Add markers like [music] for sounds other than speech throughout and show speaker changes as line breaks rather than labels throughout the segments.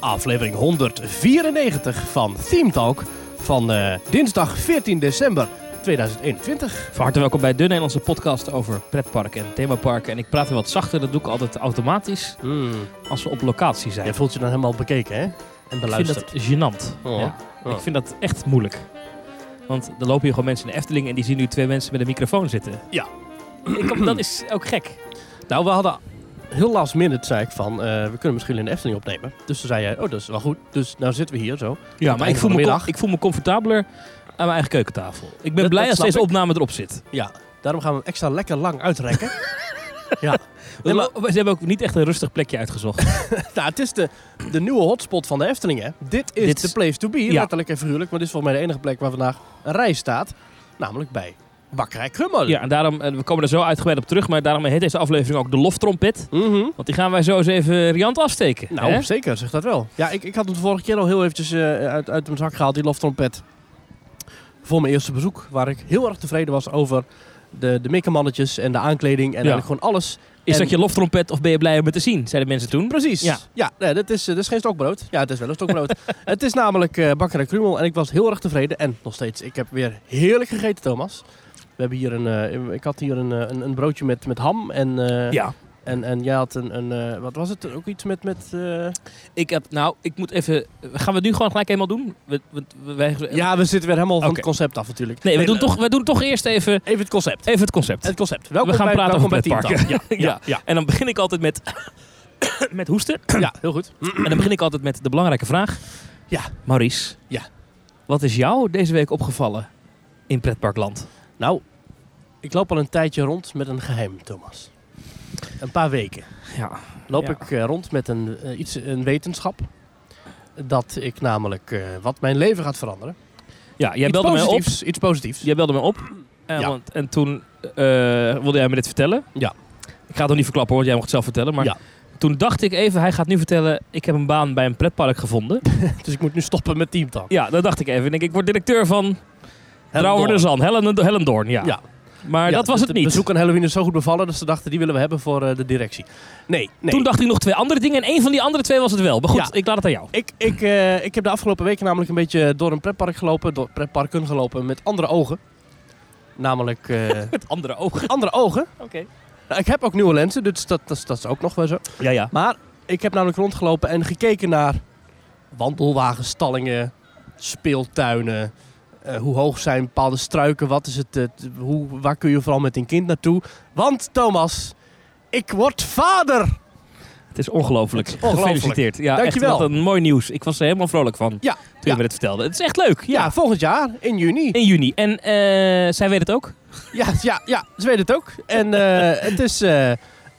aflevering 194 van Theme Talk van eh, dinsdag 14 december 2021.
Van harte welkom bij de Nederlandse podcast over pretparken en themaparken. En ik praat weer wat zachter, dat doe ik altijd automatisch als we op locatie zijn.
Jij voelt je dan helemaal bekeken, hè? En
Hmm. ik vind dat
beluisterd.
gênant.
Oh,
Ja.
oh.
Ik vind dat echt moeilijk. Want er lopen hier gewoon mensen in de Efteling en die zien nu twee mensen met een microfoon zitten.
Ja.
Ik kom- dat is ook gek.
Nou, we hadden heel last minute, zei ik, van eh, we kunnen misschien in de Efteling opnemen. Dus toen zei jij, oh, dat is wel goed. Dus nou zitten we hier zo.
Ja, maar ik voel, me,
vanmiddag.
com- ik voel me comfortabeler aan mijn eigen keukentafel. Ik ben
dat
blij als
snap
deze
ik.
opname erop zit.
Ja, daarom gaan we hem extra lekker lang
[laughs]
uitrekken. Nee, maar-
Ze hebben ook niet echt een rustig plekje uitgezocht.
nou, het is de, de nieuwe hotspot van de Efteling, hè? Dit is
Dit
de
is-
place to be,
Ja.
letterlijk en figuurlijk. Maar dit is volgens mij de enige plek waar vandaag een rij staat. Namelijk bij Bakkerij Krummel.
ja, en daarom, eh, we komen er zo uitgebreid op terug, maar daarom heet deze aflevering ook de loftrompet.
Mhm.
Want die gaan wij zo eens even riant afsteken.
Nou,
hè?
zeker, zeg dat wel. Ja, ik, ik had hem de vorige keer al heel eventjes eh, uit, uit mijn zak gehaald, die loftrompet. Voor mijn eerste bezoek, waar ik heel erg tevreden was over de, de mikkermannetjes en de aankleding en
Ja.
eigenlijk gewoon alles.
is
en-
dat je loftrompet of ben je blij om het te zien? Zeiden mensen toen.
Precies.
Ja.
nee, dat, is, eh, dat is geen stokbrood. Ja, het is wel een [laughs] stokbrood. het is namelijk eh bakker en krumel en ik was heel erg tevreden. En nog steeds, ik heb weer heerlijk gegeten, Thomas. We hebben hier een, eh, ik had hier een, eh, een, een broodje met, met ham en, eh,
Ja.
en, en jij had een, een eh, wat was het, ook iets met, met eh,
Ik heb, nou, ik moet even. Gaan we het nu gewoon gelijk helemaal doen? We, we, we- wij-
Ja, we zitten weer helemaal van
Oké.
het concept af natuurlijk.
Nee, we doen,
eh,
toch, we doen toch eerst even,
Even het concept.
even het concept.
Het concept. Welkom
we gaan
bij,
praten
welkom
over
bij Team
pretparken.
Talk. Ja,
[laughs]
ja, ja.
En dan begin ik altijd
[coughs]
met. met [coughs] hoesten.
ja, heel goed.
En dan begin ik altijd met de belangrijke vraag.
Ja.
Maurice.
Ja.
Wat is jou deze week opgevallen in pretparkland?
Nou, ik loop al een tijdje rond met een geheim, Thomas. Een paar weken
Ja.
loop
Ja.
ik eh, rond met een, eh, iets, een wetenschap. Dat ik namelijk, eh, wat mijn leven gaat veranderen.
Ja, jij
iets
belde mij op.
positiefs. Iets positiefs.
Jij belde me op. En,
Ja.
want, en toen eh, wilde jij me dit vertellen.
Ja.
Ik ga het nog niet verklappen hoor, jij mag het zelf vertellen. Maar
Ja.
toen dacht ik even, hij gaat nu vertellen... ik heb een baan bij een pretpark
[laughs]
gevonden.
Dus ik moet nu stoppen met Team Talk.
ja, dat dacht ik even. Ik denk, ik word directeur van Brouwer de
Hellendoorn.
Zan. Hellen, Hellendoorn, ja.
Ja.
dus Maar
Ja,
dat was het
de
niet.
bezoek aan Halloween is zo goed bevallen dat ze dachten die willen we hebben voor eh, de directie. Nee, nee.
Toen dacht ik nog twee andere dingen. En één van die andere twee was het wel. Maar goed,
Ja.
ik laat het aan jou.
Ik, ik, eh, ik heb de afgelopen weken namelijk een beetje door een pretpark gelopen, door pretparken gelopen met andere ogen. Namelijk
[laughs]
eh,
Met andere ogen.
andere ogen.
Oké.
Nou, ik heb ook nieuwe lenzen, dus dat, dat, dat is ook nog wel zo.
Ja, ja.
Maar ik heb namelijk rondgelopen en gekeken naar wandelwagens, stallingen, speeltuinen. Eh, hoe hoog zijn bepaalde struiken? Wat is het, eh, t- hoe, waar kun je vooral met een kind naartoe? Want Thomas, ik word vader!
Het is ongelooflijk.
ongelooflijk.
Gefeliciteerd. Ja,
Dankjewel.
Echt, wat een mooi nieuws. Ik was er helemaal vrolijk van
Ja,
toen
ja.
je me dit vertelde. Het is echt leuk.
Ja,
Ja.
volgend jaar, in juni.
In juni. En eh, zij weet het ook.
Ja, ja, ja, ze weet het ook. En eh, het is eh,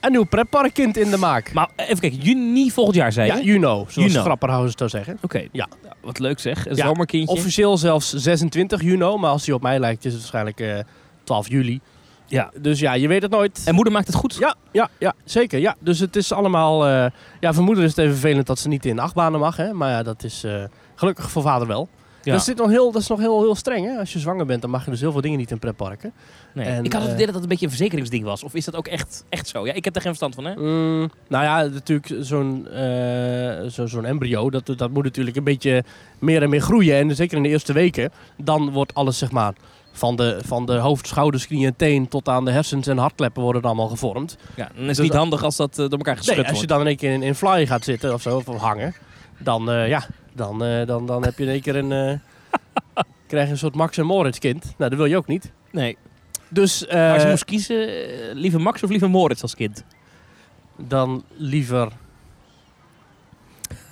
een nieuw pretparkkind in de maak.
Maar even kijken, juni volgend jaar zei je?
Ja, Juno, zoals
Juno.
Grapperhaus het zou zeggen.
Oké,
Ja.
Nou, wat leuk zeg. Een
Ja,
zomerkindje.
Officieel zelfs 26 Juno, maar als hij op mij lijkt is het waarschijnlijk eh, 12 juli.
Ja.
Dus ja, je weet het nooit.
En moeder maakt het goed.
Ja, ja, ja, zeker. Ja. Dus het is allemaal... eh, ja, voor moeder is het even vervelend dat ze niet in achtbanen mag. Hè? Maar ja, dat is eh, gelukkig voor vader wel.
Ja.
Dat, is dit nog heel, dat is nog heel, heel streng. Hè? Als je zwanger bent, dan mag je dus heel veel dingen niet in pretparken.
Nee.
En,
ik had het
eh,
idee dat dat een beetje een verzekeringsding was. Of is dat ook echt, echt zo? Ja, ik heb daar geen verstand van, hè?
Mm, nou ja, natuurlijk zo'n eh, zo, zo'n embryo, dat, dat moet natuurlijk een beetje meer en meer groeien. En zeker in de eerste weken, dan wordt alles zeg maar van de, van de hoofd, schouders, knieën en teen tot aan de hersens en hartkleppen worden dan allemaal gevormd.
Ja, dan is het niet handig als dat eh, door elkaar geschud
Nee, als je
wordt.
dan in één keer in, in fly gaat zitten of zo, of hangen, dan, eh, ja, dan, eh, dan, dan heb je in één keer een, eh, [laughs] krijg je een soort Max en Moritz kind. Nou, dat wil je ook niet.
Nee.
Dus eh,
Maar als je Nou, moest kiezen, eh, liever Max of liever Moritz als kind?
dan liever...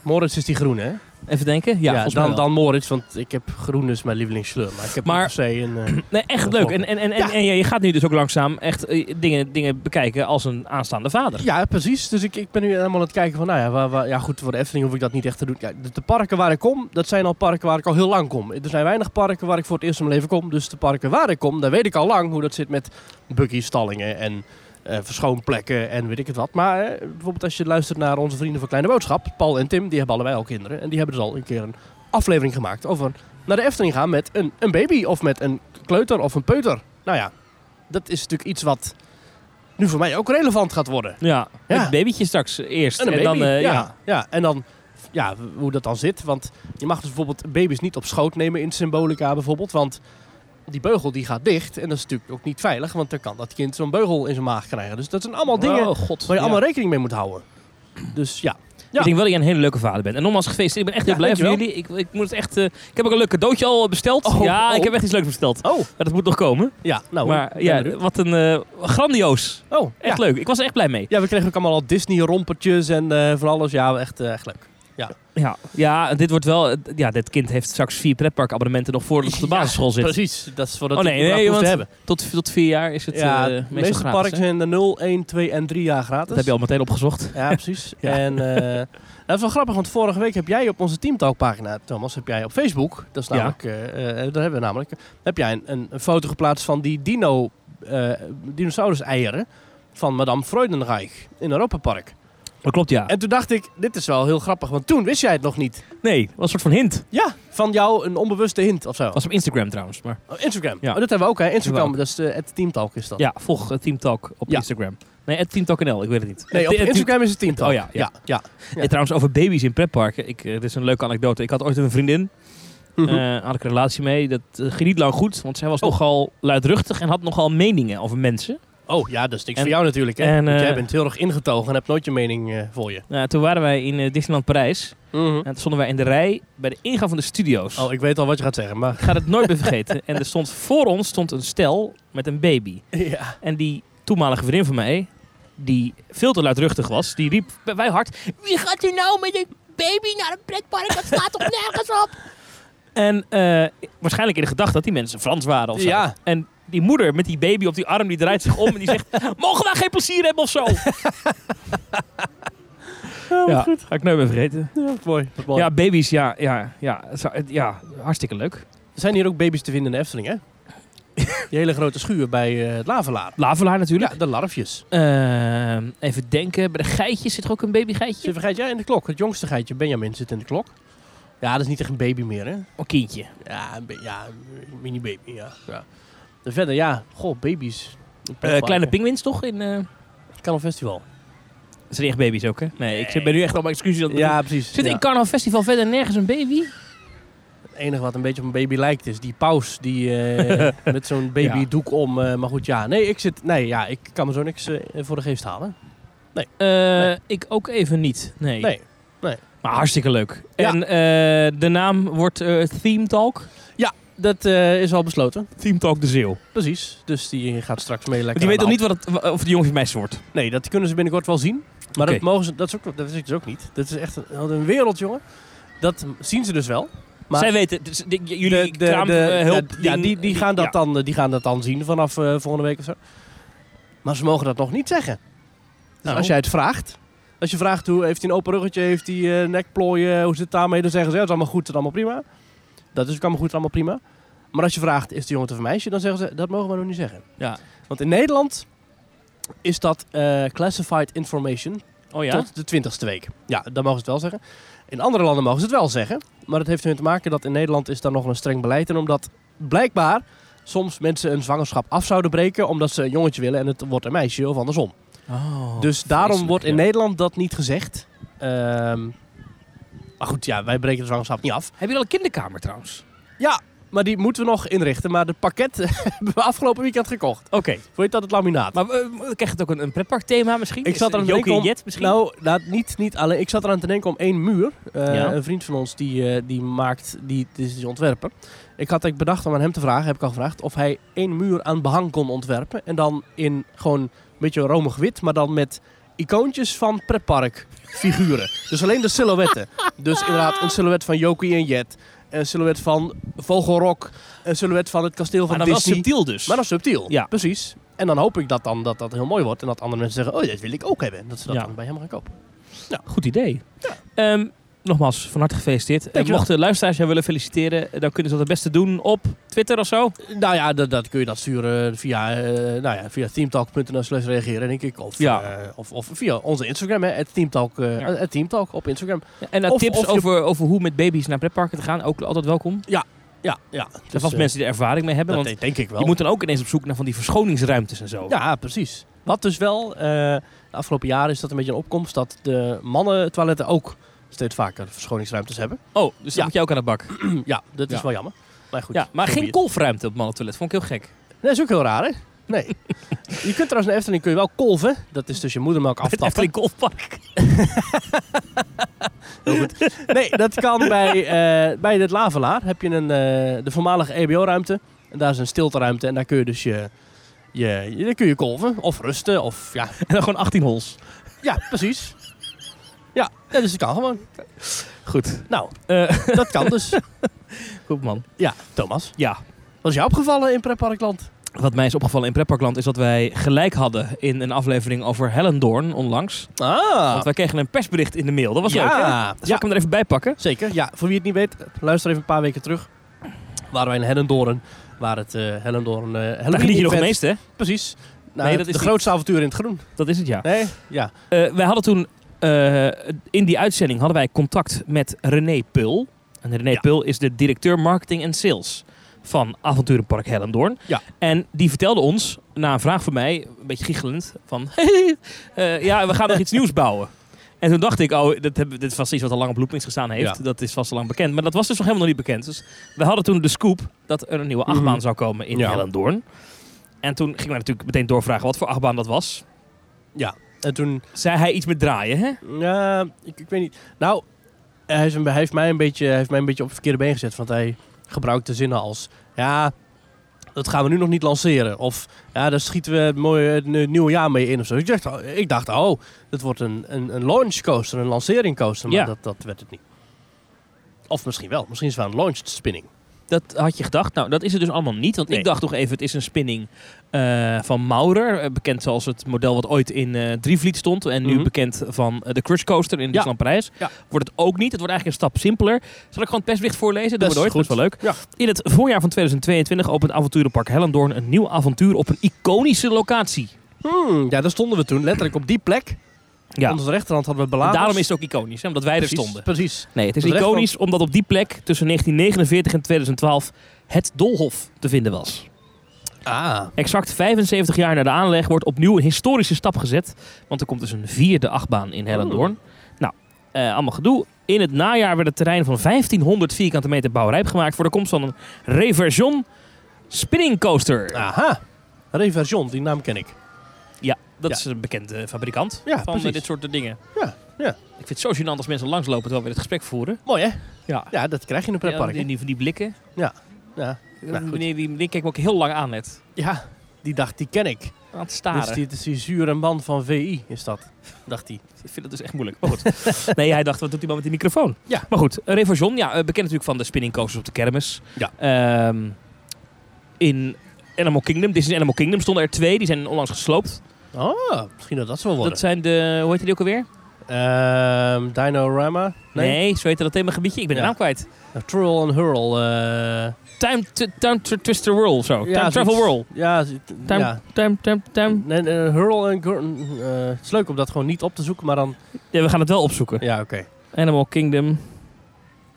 Moritz is die groene, hè?
Even denken. Ja,
Ja,
volgens mij
dan,
wel.
dan Moritz, want ik heb groen is mijn lievelingskleur. Maar ik heb
Maar-
niet per se een... eh,
Nee, echt
Dat
leuk.
klopt.
En, en, en, en,
Ja.
en ja, je gaat nu dus ook langzaam echt eh, dingen, dingen bekijken als een aanstaande vader.
ja, precies. Dus ik, ik ben nu helemaal aan het kijken van, nou ja, waar, waar- ja, goed, voor de Efteling hoef ik dat niet echt te doen. Ja, de, de parken waar ik kom, dat zijn al parken waar ik al heel lang kom. Er zijn weinig parken waar ik voor het eerst in mijn leven kom. Dus de parken waar ik kom, daar weet ik al lang hoe dat zit met buggy-stallingen en eh, verschoonplekken en weet ik het wat. Maar eh, bijvoorbeeld als je luistert naar onze vrienden van Kleine Boodschap, Paul en Tim, die hebben allebei al kinderen. En die hebben dus al een keer een aflevering gemaakt over naar de Efteling gaan met een, een baby of met een kleuter of een peuter. Nou ja, dat is natuurlijk iets wat nu voor mij ook relevant gaat worden.
Ja,
Ja.
Met babytje straks eerst.
En een baby.
dan, eh,
ja. Ja. en dan ja, hoe dat dan zit. Want je mag dus bijvoorbeeld baby's niet op schoot nemen in symbolica bijvoorbeeld. Want die beugel die gaat dicht. En dat is natuurlijk ook niet veilig. Want dan kan dat kind zo'n beugel in zijn maag krijgen. Dus dat zijn allemaal dingen
Oh, god.
waar je
Ja.
allemaal rekening mee moet houden. Dus ja. Ja.
Ik denk wel dat jij een hele leuke vader bent. En nogmaals gefeliciteerd. Ik ben echt heel
Ja,
blij voor
dankjewel.
jullie. Ik, ik, moet het echt, eh, ik heb ook een leuk cadeautje al besteld.
Oh,
ja,
oh.
ik heb echt iets leuks besteld.
Oh,
Maar dat moet nog komen.
ja. Nou,
maar
ben
ja,
benieuwd.
wat een eh, grandioos.
Oh,
Echt
ja.
leuk. Ik was er echt blij mee.
Ja, we kregen ook allemaal al Disney-rompertjes en eh, van alles. Ja, echt, eh, echt leuk.
Ja, ja, dit wordt wel. eh, Ja, dit kind heeft straks vier pretparkabonnementen nog voordat het op
[laughs]
de
Ja,
basisschool zit.
Precies. Dat is voor dat
Oh, nee,
we überhaupt
nee,
moesten
want-
hebben.
Tot, tot vier jaar is het
Ja,
eh,
de
meestal
meeste
gratis.
parken
hè?
zijn de 0, 1, 2 en 3 jaar gratis.
Dat heb je al meteen opgezocht.
Ja, precies.
[laughs] Ja.
En eh, dat is wel grappig, want vorige week heb jij op onze Teamtalk-pagina, Thomas, heb jij op Facebook, dat is
Ja.
namelijk, eh eh, daar hebben we namelijk, heb jij een, een, een foto geplaatst van die dino, eh dinosaurus-eieren van Madame Freudenreich in Europa Park.
Dat klopt, ja.
En toen dacht ik, dit is wel heel grappig, want toen wist jij het nog niet.
Nee, dat was een soort van hint.
Ja, van jou een onbewuste hint of zo.
Dat was op Instagram trouwens. Maar
Oh, Instagram.
Ja.
Oh, dat hebben we ook, hè? Instagram,
Hebben
dat is de het Teamtalk is dat.
ja, volg eh, Team Talk op
Ja.
Instagram. Nee, at Team Talk NL, ik weet het niet.
Nee, op
Eh, Team-
Instagram is het Teamtalk.
Oh ja, ja.
ja. ja.
Eh, trouwens, over baby's in pretparken. Ik, eh, dit is een leuke anekdote. Ik had ooit een vriendin.
Mhm.
eh, had ik een relatie mee. Dat eh, ging niet lang goed, want zij was
Oh.
nogal luidruchtig en had nogal meningen over mensen.
Oh ja, dat is niks
En-
voor jou natuurlijk. Hè?
en,
Want jij
eh,
bent heel erg ingetogen en hebt nooit je mening eh, voor je.
Nou, toen waren wij in eh, Disneyland Parijs. En toen stonden wij in de rij bij de ingang van de studio's.
Oh, ik weet al wat je gaat zeggen, maar...
Ik ga het nooit meer vergeten. En er stond voor ons stond een stel met een
[laughs]
baby.
Ja.
En die toenmalige vriendin van mij, die veel te luidruchtig was, die riep bij wij hard... Wie gaat er nou met een baby naar een pretpark? Dat slaat toch nergens op? En eh, waarschijnlijk in de gedachte dat die mensen Frans waren of zo.
Ja.
En die moeder met die baby op die arm, die draait zich om en die zegt... [laughs] Mogen wij geen plezier hebben [laughs] of zo? ja,
goed.
ga ik nooit meer vergeten.
wat mooi. Wat mooi.
Ja, baby's, ja, ja, ja, Zo- het- ja, hartstikke leuk.
Er zijn hier ook baby's te vinden in de Efteling, hè? [laughs] Die hele grote schuur bij eh, het Lavelaar.
Lavelaar natuurlijk.
Ja, de larfjes.
Ehm, even denken, bij de geitjes zit er ook een babygeitje?
Ze vergeet jij in de klok. Het jongste geitje, Benjamin, zit in de klok. Ja, dat is niet echt een baby meer, hè?
Een kindje.
Ja, een be- ja, een mini-baby, ja. ja. En verder, ja, goh, baby's.
Eh, kleine pinguïns toch? In, eh
Canon Festival.
Dat zijn niet echt baby's ook, hè? Nee, ik zit- ben nu echt al mijn excuses aan het doen.
Ja, precies.
Zit
ja.
in Carnaval Festival verder nergens een baby?
Het enige wat een beetje op een baby lijkt is die paus die [laughs] eh, met zo'n babydoek om. eh, maar goed, ja. Nee, ik zit. Nee, ja, ik kan me zo niks eh, voor de geest halen.
Eh,
Nee.
Ik ook even niet, nee.
Nee.
Maar hartstikke leuk.
Ja.
En eh, de naam wordt eh Theme Talk.
Dat eh, is al besloten.
Theme Talk de Zeeuw.
Precies. Dus die gaat straks mee lekker.
Die weet nog
aan de
niet wat het, of het jongetje meisje wordt.
hand. Nee, dat kunnen ze binnenkort wel zien. Maar
Oké.
dat mogen ze. Dat is ook. Dat weet ik dus ook niet. Dat is echt een, wat een wereld, jongen. Dat zien ze dus wel. Maar-
Zij weten, dus, de- j- jullie kraam, eh, hulp.
ja, die, die, gaan dat
ja.
dan, eh, die gaan dat dan zien vanaf eh, volgende week of zo. Maar ze mogen dat nog niet zeggen. Dus
Nou.
als jij het vraagt. Als je vraagt hoe heeft hij een open ruggetje, heeft hij eh, nekplooien, hoe zit het daarmee? Dan zeggen ze, ja, het is allemaal goed, het is allemaal prima. Dat is ook allemaal goed, het is allemaal prima. Maar als je vraagt, is het een jongen of een meisje? Dan zeggen ze, dat mogen we nog niet zeggen.
Ja.
Want in Nederland is dat eh, classified information
Oh ja?
tot de twintigste week. Ja, dan mogen ze het wel zeggen. In andere landen mogen ze het wel zeggen. Maar dat heeft ermee te maken dat in Nederland is daar nog een streng beleid. En omdat blijkbaar soms mensen een zwangerschap af zouden breken... omdat ze een jongetje willen en het wordt een meisje of andersom.
Oh,
dus daarom
vreselijk,
wordt in
ja.
Nederland dat niet gezegd. Ehm, maar goed, ja, wij breken de zwangerschap niet af.
Heb je al een kinderkamer trouwens?
Ja, maar die moeten we nog inrichten. Maar de pakket [laughs] hebben we afgelopen weekend gekocht.
Oké.
Hoe heet dat, het laminaat?
Maar eh, krijgt het ook een, een pretparkthema misschien?
Ik zat
Is
aan
het
het
Jokie
denken
en
om-
Jet misschien?
Nou, nou, niet, niet alleen. Ik zat eraan te denken om één muur. Eh,
Ja.
Een vriend van ons die, eh, die maakt, die, die is de ontwerper. Ik had ik bedacht om aan hem te vragen, heb ik al gevraagd, of hij één muur aan behang kon ontwerpen. En dan in gewoon een beetje romig wit, maar dan met icoontjes van pretparkfiguren. dus alleen de silhouetten. Dus inderdaad een silhouet van Jokie en Jet. Een silhouet van Vogelrok. Een silhouet van het kasteel van
maar dan wel
Disney.
subtiel dus.
Maar dan subtiel.
Ja.
Precies. En dan hoop ik dat, dan, dat dat heel mooi wordt. En dat andere mensen zeggen, oh, dat wil ik ook hebben. En dat ze dat
Ja.
dan bij hem gaan kopen. nou.
Goed idee. Ehm, nogmaals, van harte gefeliciteerd. En
Dankjewel.
mochten luisteraars jou willen feliciteren, eh, dan kunnen ze dat het beste doen op Twitter of zo.
Nou ja, dat, dat kun je dat sturen via, eh nou ja, via teamtalk.nl slash reageren, denk ik. Of,
Ja.
eh, of, of via onze Instagram, hè. Het teamtalk, eh,
Ja.
het teamtalk op Instagram.
En eh,
Of-
tips
of je-
over, over hoe met baby's naar pretparken te gaan, ook altijd welkom.
Ja, ja.
Er zijn
Dus,
vast
eh,
mensen die er ervaring mee hebben,
dat
want
denk- denk ik wel.
je moet dan ook ineens op zoek naar van die verschoningsruimtes en zo.
Ja, precies. Wat dus wel, eh, de afgelopen jaren is dat een beetje een opkomst dat de mannen toiletten ook steeds vaker verschoningsruimtes hebben.
Oh, dus dan
Ja.
moet je ook aan de bak.
ja, dat is
Ja.
wel jammer. Maar goed.
ja, maar
zo
geen
be it.
kolfruimte op mannentoilet. Vond ik heel [laughs] gek.
Dat is ook heel raar, hè? Nee.
[laughs]
je kunt trouwens in de Efteling kun je wel kolven. Dat is dus je moedermelk
Bij het
aftappen.
Efteling
[laughs]
Golfpark.
Nee, dat kan bij, eh bij het Lavelaar. Heb je een, eh, de voormalige EBO-ruimte. En daar is een stilteruimte. En daar kun je dus je, je, je, daar kun je kolven. Of rusten. Of ja,
En dan gewoon 18 hols.
ja precies. Ja, ja, dus dat kan gewoon.
Goed.
Nou, [laughs]
Eh,
dat kan dus.
goed man.
Ja, Thomas.
Ja,
Wat is jou opgevallen in Pretparkland?
wat mij is opgevallen in Pretparkland is dat wij gelijk hadden in een aflevering over Hellendoorn onlangs.
Ah,
Want wij kregen een persbericht in de mail. Dat was
ja.
leuk. hè? Zal
Ja,
ik hem er even bij pakken?
zeker. Ja, voor wie het niet weet, luister even een paar weken terug. Waren wij in Hellendoren. Waar het eh Hellendoren... eh
Daar
Halloween
geniet je nog het
event-
meest, hè?
Precies. Nou,
Nee, dat
het-
is
de
niet-
grootste avontuur in het groen.
Dat is het, ja.
Nee? Ja.
Eh, wij hadden toen eh, in die uitzending hadden wij contact met René Pul. En René
Ja.
Pul is de directeur marketing en sales van Avonturenpark Hellendoorn.
Ja.
En die vertelde ons, na een vraag van mij, een beetje giechelend, van [laughs] eh, ja, we gaan nog
[laughs]
iets nieuws bouwen. En toen dacht ik, oh, dat hebben, dit is vast iets wat al lang op loopings gestaan heeft.
Ja.
Dat is vast al lang bekend. Maar dat was dus nog helemaal nog niet bekend. Dus we hadden toen de scoop dat er een nieuwe
Mhm.
achtbaan zou komen in
Ja.
Hellendoorn. En toen gingen wij natuurlijk meteen doorvragen wat voor achtbaan dat was.
En toen...
Zei hij iets met draaien, hè?
Ja, ik, ik weet niet. Nou, hij, is een- hij heeft mij een beetje, hij heeft mij een beetje op het verkeerde been gezet. Want hij gebruikte zinnen als... Ja, dat gaan we nu nog niet lanceren. Of ja, daar schieten we het mooie het nieuw- nieuwe jaar mee in of zo. Ik dacht, oh, ik dacht, oh dat wordt een, een, een launch coaster, een lancering coaster. Maar
Ja.
dat, dat werd het niet. Of misschien wel. Misschien is het wel een launched spinning.
Dat had je gedacht. Nou, dat is het dus allemaal niet. Want
Nee.
ik dacht toch even, het is een spinning eh, van Maurer. eh, Bekend zoals het model wat ooit in eh Drievliet stond. En nu
Mhm.
bekend van eh, de Crush Coaster in Disneyland Parijs.
Ja.
Wordt het ook niet. Het wordt eigenlijk een stap simpeler. Zal ik gewoon het persbericht voorlezen? Dat
Best
wordt nooit. Dat is wel leuk.
Ja.
In het voorjaar van 2022 opent avonturenpark Hellendoorn een nieuw avontuur op een iconische locatie.
Hmm, ja, daar stonden we toen. Letterlijk op die plek.
Ja.
Onze rechterhand hadden we
En
beladen.
daarom is het ook iconisch, hè, omdat wij er stonden.
Precies.
Nee, het is
De rest
iconisch omdat op die plek tussen 1949 en 2012 het Dolhof te vinden was.
Ah.
Exact 75 jaar na de aanleg wordt opnieuw een historische stap gezet. Want er komt dus een vierde achtbaan in Hellendoorn. Nou, eh, allemaal gedoe. In het najaar werd het terrein van 1500 vierkante meter bouwrijp gemaakt... voor de komst van een Reversion Spinning Coaster.
Aha. Reversion, die naam ken ik.
dat
ja.
is een bekende fabrikant
Ja,
van eh,
precies.
dit soort eh, dingen.
Ja, ja.
Ik vind het zo gênant als mensen langslopen terwijl we dit gesprek voeren.
Mooi, hè?
Ja.
Ja, dat krijg je in een pretpark. hè?
die, die, van die blikken.
Ja, Nou, goed.
Meneer die blik kijkt me ook heel lang aan net.
ja, die dacht, die ken ik.
Aan het
Dat
staren.
is Dus die, dat is die zure man van VI, is dat. Dacht hij.
Ik vind dat dus echt moeilijk. Maar goed. [laughs] nee, hij dacht, wat doet die man met die microfoon?
Ja.
Maar goed, eh, Reversion, ja, eh, bekend natuurlijk van de spinning coasters op de kermis.
Ja.
Ehm, in Animal Kingdom, Disney's Animal Kingdom, stonden er twee. Die zijn onlangs gesloopt.
Oh, misschien dat dat zo
Dat
wordt.
zijn de, hoe heet die ook alweer?
Ehm Dinorama?
Nee, zo heette dat themagebiedje. Ik ben
Ja.
de naam kwijt.
Uh, Twirl and Hurl. eh,
Time, t- time tw- Twister Whirl of zo.
ja,
time Travel
zoiets.
Whirl.
Ja, z-
Time,
ja.
time, time, time.
Nee, nee, hurl en... gr- eh, het is leuk om dat gewoon niet op te zoeken, maar dan...
Ja, we gaan het wel opzoeken.
Ja, oké.
Animal Kingdom.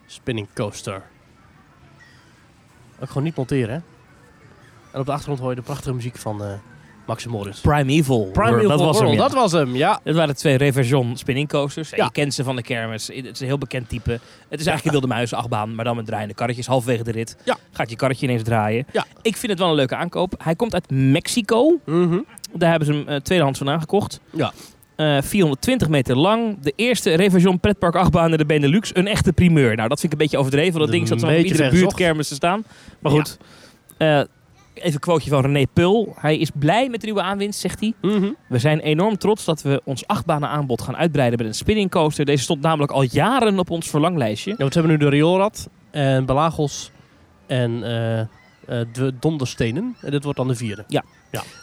Spinning coaster. Ook gewoon niet monteren, hè? En op de achtergrond hoor je de prachtige muziek van eh Max Morris.
Primeval. Whirl, dat was hem, ja.
dat was hem, ja.
Dat waren twee Reversion spinning coasters. En
Ja.
Je kent ze van de kermis. Het is een heel bekend type. Het is eigenlijk een wilde muis achtbaan, maar dan met draaiende karretjes. Halverwege de rit
Ja.
gaat je karretje ineens draaien.
Ja.
Ik vind het wel een leuke aankoop. Hij komt uit Mexico.
Mhm.
Daar hebben ze hem eh, tweedehands van aangekocht.
Ja.
Eh, 420 meter lang. De eerste Reversion pretpark achtbaan in de Benelux. Een echte primeur. Nou, dat vind ik een beetje overdreven. want
Een
Dat ding zat zo op
beetje
iedere
terecht,
buurtkermis te staan. Maar goed. eh, even een quoteje van René Pul. Hij is blij met de nieuwe aanwinst, zegt hij.
Mhm.
We zijn enorm trots dat we ons achtbanen aanbod gaan uitbreiden met een spinning coaster. Deze stond namelijk al jaren op ons verlanglijstje.
Ja, want ze hebben nu de Riolrad en Belagos en eh, eh, de Donderstenen. En dit wordt dan de vierde.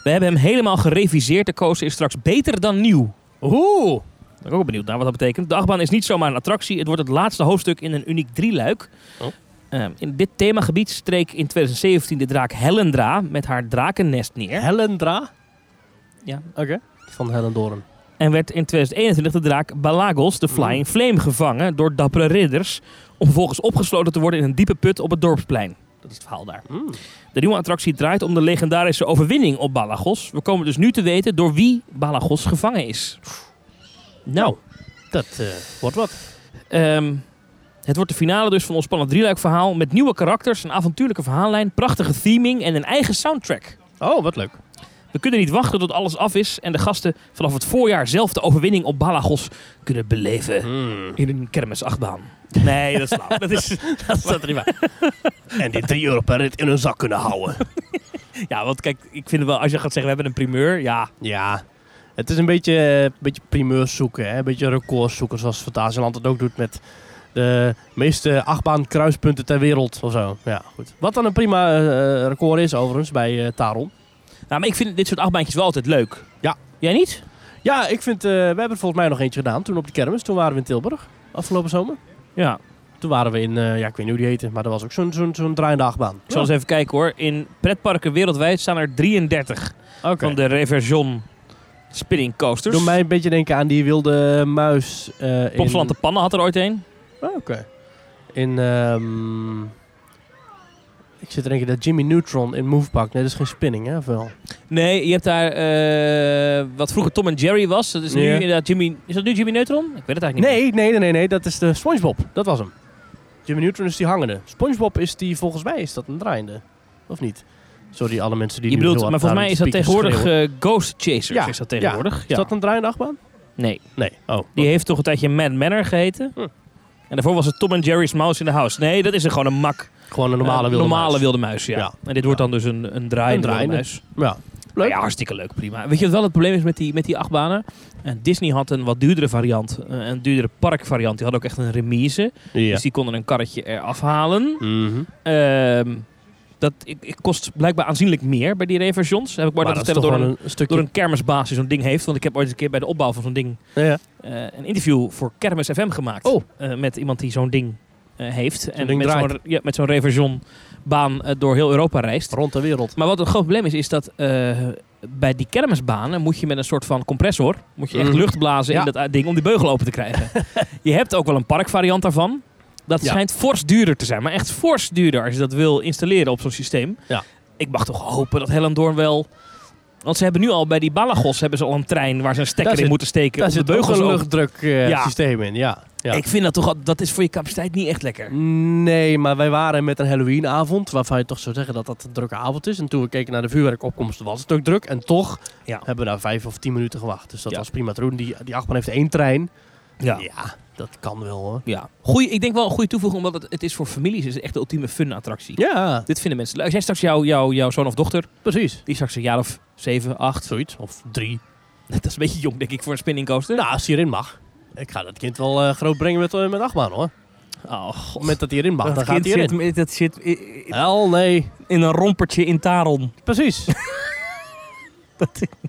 We hebben hem helemaal gereviseerd. De coaster is straks beter dan nieuw.
Oeh!
Ik ben ook wel benieuwd naar wat dat betekent. De achtbaan is niet zomaar een attractie. Het wordt het laatste hoofdstuk in een uniek drieluik.
Oh.
Ehm, in dit themagebied streek in 2017 de draak Helendra met haar drakennest neer.
Helendra.
Ja.
Oké. Van Hellendoorn.
En werd in 2021 de draak Balagos, de Flying Flame, gevangen door dappere ridders. Om vervolgens opgesloten te worden in een diepe put op het dorpsplein. Dat is het verhaal daar.
Mm.
De nieuwe attractie draait om de legendarische overwinning op Balagos. We komen dus nu te weten door wie Balagos gevangen is. Nou,
Dat eh, wordt wat.
Ehm, het wordt de finale dus van ons spannend drieluik verhaal met nieuwe karakters, een avontuurlijke verhaallijn, prachtige theming en een eigen soundtrack.
Oh, wat leuk.
We kunnen niet wachten tot alles af is en de gasten vanaf het voorjaar zelf de overwinning op Balagos kunnen beleven.
Hmm.
In een kermisachtbaan. Nee, dat is flauw. Dat is, [laughs]
Dat staat er niet bij. en die 3 euro per rit in hun zak kunnen houden.
ja, want kijk, ik vind wel, als je gaat zeggen we hebben een primeur, ja.
Ja, het is een beetje, eh, een beetje primeurs zoeken. Hè? Een beetje records zoeken, zoals Fantasieland het ook doet met de meeste achtbaan kruispunten ter wereld of zo. Ja, goed. Wat dan een prima eh, eh, record is overigens bij eh, Taron.
Nou, maar ik vind dit soort achtbaantjes wel altijd leuk.
Ja.
Jij niet?
Ja, ik vind, eh, we hebben er volgens mij nog eentje gedaan toen op de kermis. Toen waren we in Tilburg, afgelopen zomer.
Ja.
Toen waren we in, eh, ja ik weet niet hoe die heette, maar dat was ook zo'n zo'n zo'n draaiende achtbaan.
Ik zal eens even kijken hoor. In pretparken wereldwijd staan er 33
Ja, oké.
van de Reversion spinning coasters.
Doe mij een beetje denken aan die wilde muis. eh in-
Popsland de Pannen had er ooit een.
Oh, Oké. In. ehm, ik zit te denken dat Jimmy Neutron in Movepark. Nee, dat is geen spinning, hè? Of wel?
Nee, je hebt daar eh, wat vroeger Tom en Jerry was. Dat is nu
Ja.
inderdaad Jimmy. Is dat nu Jimmy Neutron? Ik weet het eigenlijk niet.
Nee,
meer.
nee, nee, nee, nee. Dat is de SpongeBob. Dat was hem. Jimmy Neutron is die hangende. SpongeBob is die, volgens mij, is dat een draaiende. Of niet? Sorry, alle mensen die
Je
nu
bedoelt,
heel
maar
hard
volgens mij
naar
is
de
dat
speakers
tegenwoordig
schreeuwen.
eh, Ghost Chasers.
Ja,
Is dat tegenwoordig?
Is dat een draaiende achtbaan?
Nee.
Nee. Oh.
Die heeft toch een tijdje Mad Manor geheten.
Hm.
En daarvoor was het Tom en Jerry's Mouse in the House. Nee, dat is er gewoon een mak.
Gewoon een normale
Eh,
wilde
normale
muis.
wilde muis, ja.
Ja.
En dit wordt dan dus een, een
Een
draaiende wilde
draaiende.
muis.
Ja. Leuk.
Nou Ja, hartstikke leuk, prima. Weet je wat wel het probleem is met die, met die achtbanen? En Disney had een wat duurdere variant, eh, een duurdere parkvariant. Die had ook echt een remise,
Ja.
dus die konden een karretje eraf halen.
Mhm.
Ehm, dat ik, ik kost blijkbaar aanzienlijk meer bij die reversions. Heb ik maar,
Maar
dat
dat is toch
vertellen door
gewoon
een,
een stukje...
door een kermisbaas die zo'n ding heeft. Want ik heb ooit eens een keer bij de opbouw van zo'n ding
Ja.
eh, een interview voor Kermis FM gemaakt.
Oh.
Eh, met iemand die zo'n ding eh, heeft. en
ding
met
draait.
zo'n ja, met zo'n reversionbaan eh, door heel Europa reist.
Rond de wereld.
Maar wat een groot probleem is, is dat eh, bij die kermisbanen moet je met een soort van compressor, moet je echt
Mhm.
lucht blazen
Ja.
in dat eh, ding om die beugel open te
[laughs]
krijgen. je hebt ook wel een parkvariant daarvan. Dat
Ja.
schijnt fors duurder te zijn, maar echt fors duurder als je dat wil installeren op zo'n systeem.
Ja.
Ik mag toch hopen dat Hellendoorn wel... Want ze hebben nu al bij die Balagos hebben ze al een trein waar ze een stekker
Daar
in
zit-
moeten steken.
Daar
om de
zit ook
beugels
een
open-
luchtdruk eh,
Ja.
systeem in, ja. ja.
Ik vind dat toch al, dat is voor je capaciteit niet echt lekker.
Nee, maar wij waren met een Halloweenavond, waarvan je toch zou zeggen dat dat een drukke avond is. En toen we keken naar de vuurwerkopkomsten was het ook druk. En toch
Ja.
hebben we daar vijf of tien minuten gewacht. Dus dat
Ja.
was prima te doen. Die, die achtbaan heeft één trein.
Ja.
dat kan wel hoor.
ja. Goeie, ik denk wel een goede toevoeging, omdat het, het is voor families is het echt de ultieme fun attractie.
Ja,
Dit vinden mensen leuk. Als jij straks jouw jouw jouw zoon of dochter,
precies.
die is straks een jaar of zeven, acht.
Zoiets. Of drie.
[laughs] Dat is een beetje jong, denk ik, voor een spinning coaster.
Nou, als hij erin mag. Ik ga dat kind wel eh, groot brengen met, eh, met achtbaan hoor.
Oh,
Op
god.
het moment dat hij erin mag, dan gaat hij erin.
zit, dat zit i- i-
Hel nee.
in een rompertje in Taron.
[laughs] Precies.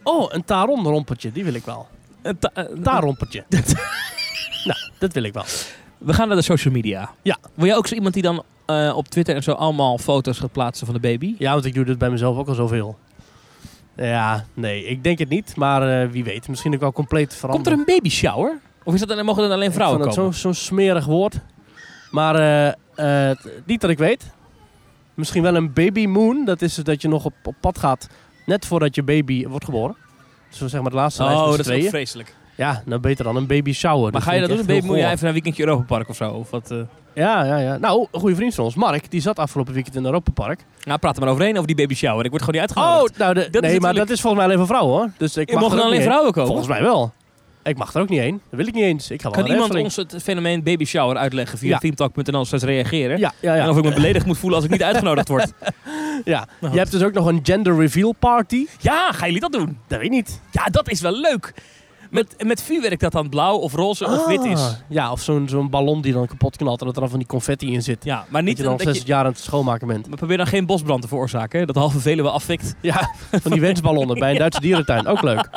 Oh, een taronrompertje, die wil ik wel.
Een ta- eh, [laughs]
Taronrompertje. nou, dat wil ik wel.
eh, We gaan naar de social media.
Ja.
Wil jij ook zo iemand die dan eh, op Twitter en zo allemaal foto's gaat plaatsen van de baby?
Ja, want ik doe dit bij mezelf ook al zoveel. Ja, nee, ik denk het niet. Maar eh, wie weet, misschien ook wel compleet
Komt er
veranderd.
een baby shower? Of is dat dan, mogen er dan alleen vrouwen
Ik
komen?
vond het zo- zo'n smerig woord. Maar eh, eh, t- niet dat ik weet. Misschien wel een baby moon. Dat is dus dat je nog op, op pad gaat net voordat je baby wordt geboren. Zo zeg maar de laatste lijst
Oh,
met
dat
z'n
is ook
tweeën.
vreselijk.
Ja, nou beter dan een baby shower.
Maar ga je dat
vind
doen? Een
ik
baby
echt
moet
heel
je even naar een weekendje Europa Park of zo? Of wat, eh?
goor. Ja, ja, ja. Nou, een goede vriend van ons, Mark, die zat afgelopen weekend in Europa Park.
Nou, praat er maar overheen over die baby shower. Ik word gewoon niet
Oh,
uitgenodigd.
nou, de- nee, maar
natuurlijk-
dat is volgens mij alleen voor vrouwen hoor. Dus ik
Je
mag
mogen
er
dan
ook niet
alleen
heen.
vrouwen komen?
Volgens mij wel. Ik mag er ook niet heen. Dat wil ik niet eens. Ik ga wel
Kan
naar
iemand
Efteling.
ons het fenomeen baby shower uitleggen via
Ja.
themetalk.nl slash reageren?
Ja, ja,
En
ja.
of ik me beledigd moet voelen als ik niet uitgenodigd word. [laughs]
ja.
goed.
Je hebt dus ook nog een gender reveal party.
Ja, gaan jullie dat doen?
Dat weet ik niet.
Ja, dat is wel leuk. Met, met vuurwerk dat dan blauw of roze of wit is.
Ja, of zo'n zo'n ballon die dan kapot knalt en dat er dan van die confetti in zit.
Ja, maar
Niet dat
niet
je dan
dat
60
je...
jaar aan het schoonmaken bent.
Maar probeer dan geen bosbrand te veroorzaken. hè. Dat halve velen wel afvikt.
Ja, van die wensballonnen bij een Duitse dierentuin. Ook leuk.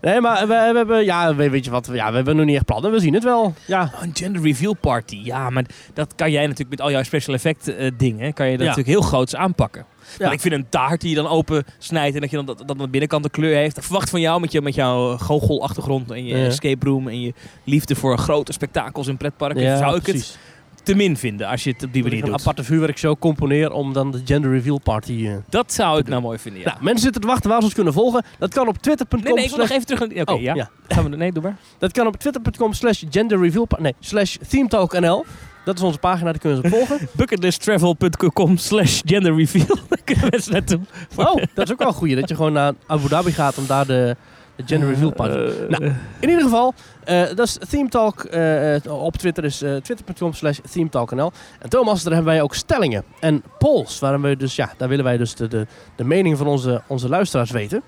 Nee, maar we, we hebben, ja, we- weet je wat, ja, we hebben nog niet echt plannen. We zien het wel. Ja,
Oh, een gender reveal party. Ja, maar dat kan jij natuurlijk met al jouw special effect eh, dingen. Kan je dat
Ja.
natuurlijk heel groots aanpakken.
Ja.
Maar ik vind een taart die je dan open snijdt en dat je dan dat, dat aan de binnenkant de kleur heeft. Ik verwacht van jou met, je, met jouw goochelachtergrond en je
Ja.
escape room en je liefde voor grote spektakels in pretparken.
ja
zou ik
precies.
het te min vinden als je het op die
Dat ik
manier
een
doet.
aparte vuurwerkshow componeer om dan de gender reveal party... eh,
Dat zou ik nou mooi vinden, ja.
Nou, mensen zitten te wachten waar ze ons kunnen volgen. Dat kan op twitter.com
nee, nee, ik wil nog
slash...
even terug naar... die- Oké,
Oh,
ja. Gaan we... Nee, doe [laughs] maar.
Dat kan op twitter.com slash genderreveal... pa- Nee, slash themetalk.nl. Dat is onze pagina, daar kunnen ze op volgen.
[laughs] Bucketlisttravel.com slash [laughs] genderreveal. Dan kunnen mensen naartoe.
Oh, dat is ook wel een goeie. Dat je gewoon naar Abu Dhabi gaat om daar de, de gender reveal party...
nou,
In ieder geval, eh, dat is themetalk eh, eh, op Twitter. is eh, twitter.com slash themetalk.nl. En Thomas, daar hebben wij ook stellingen en polls. Waarin we dus, ja, daar willen wij dus de, de, de mening van onze, onze luisteraars weten.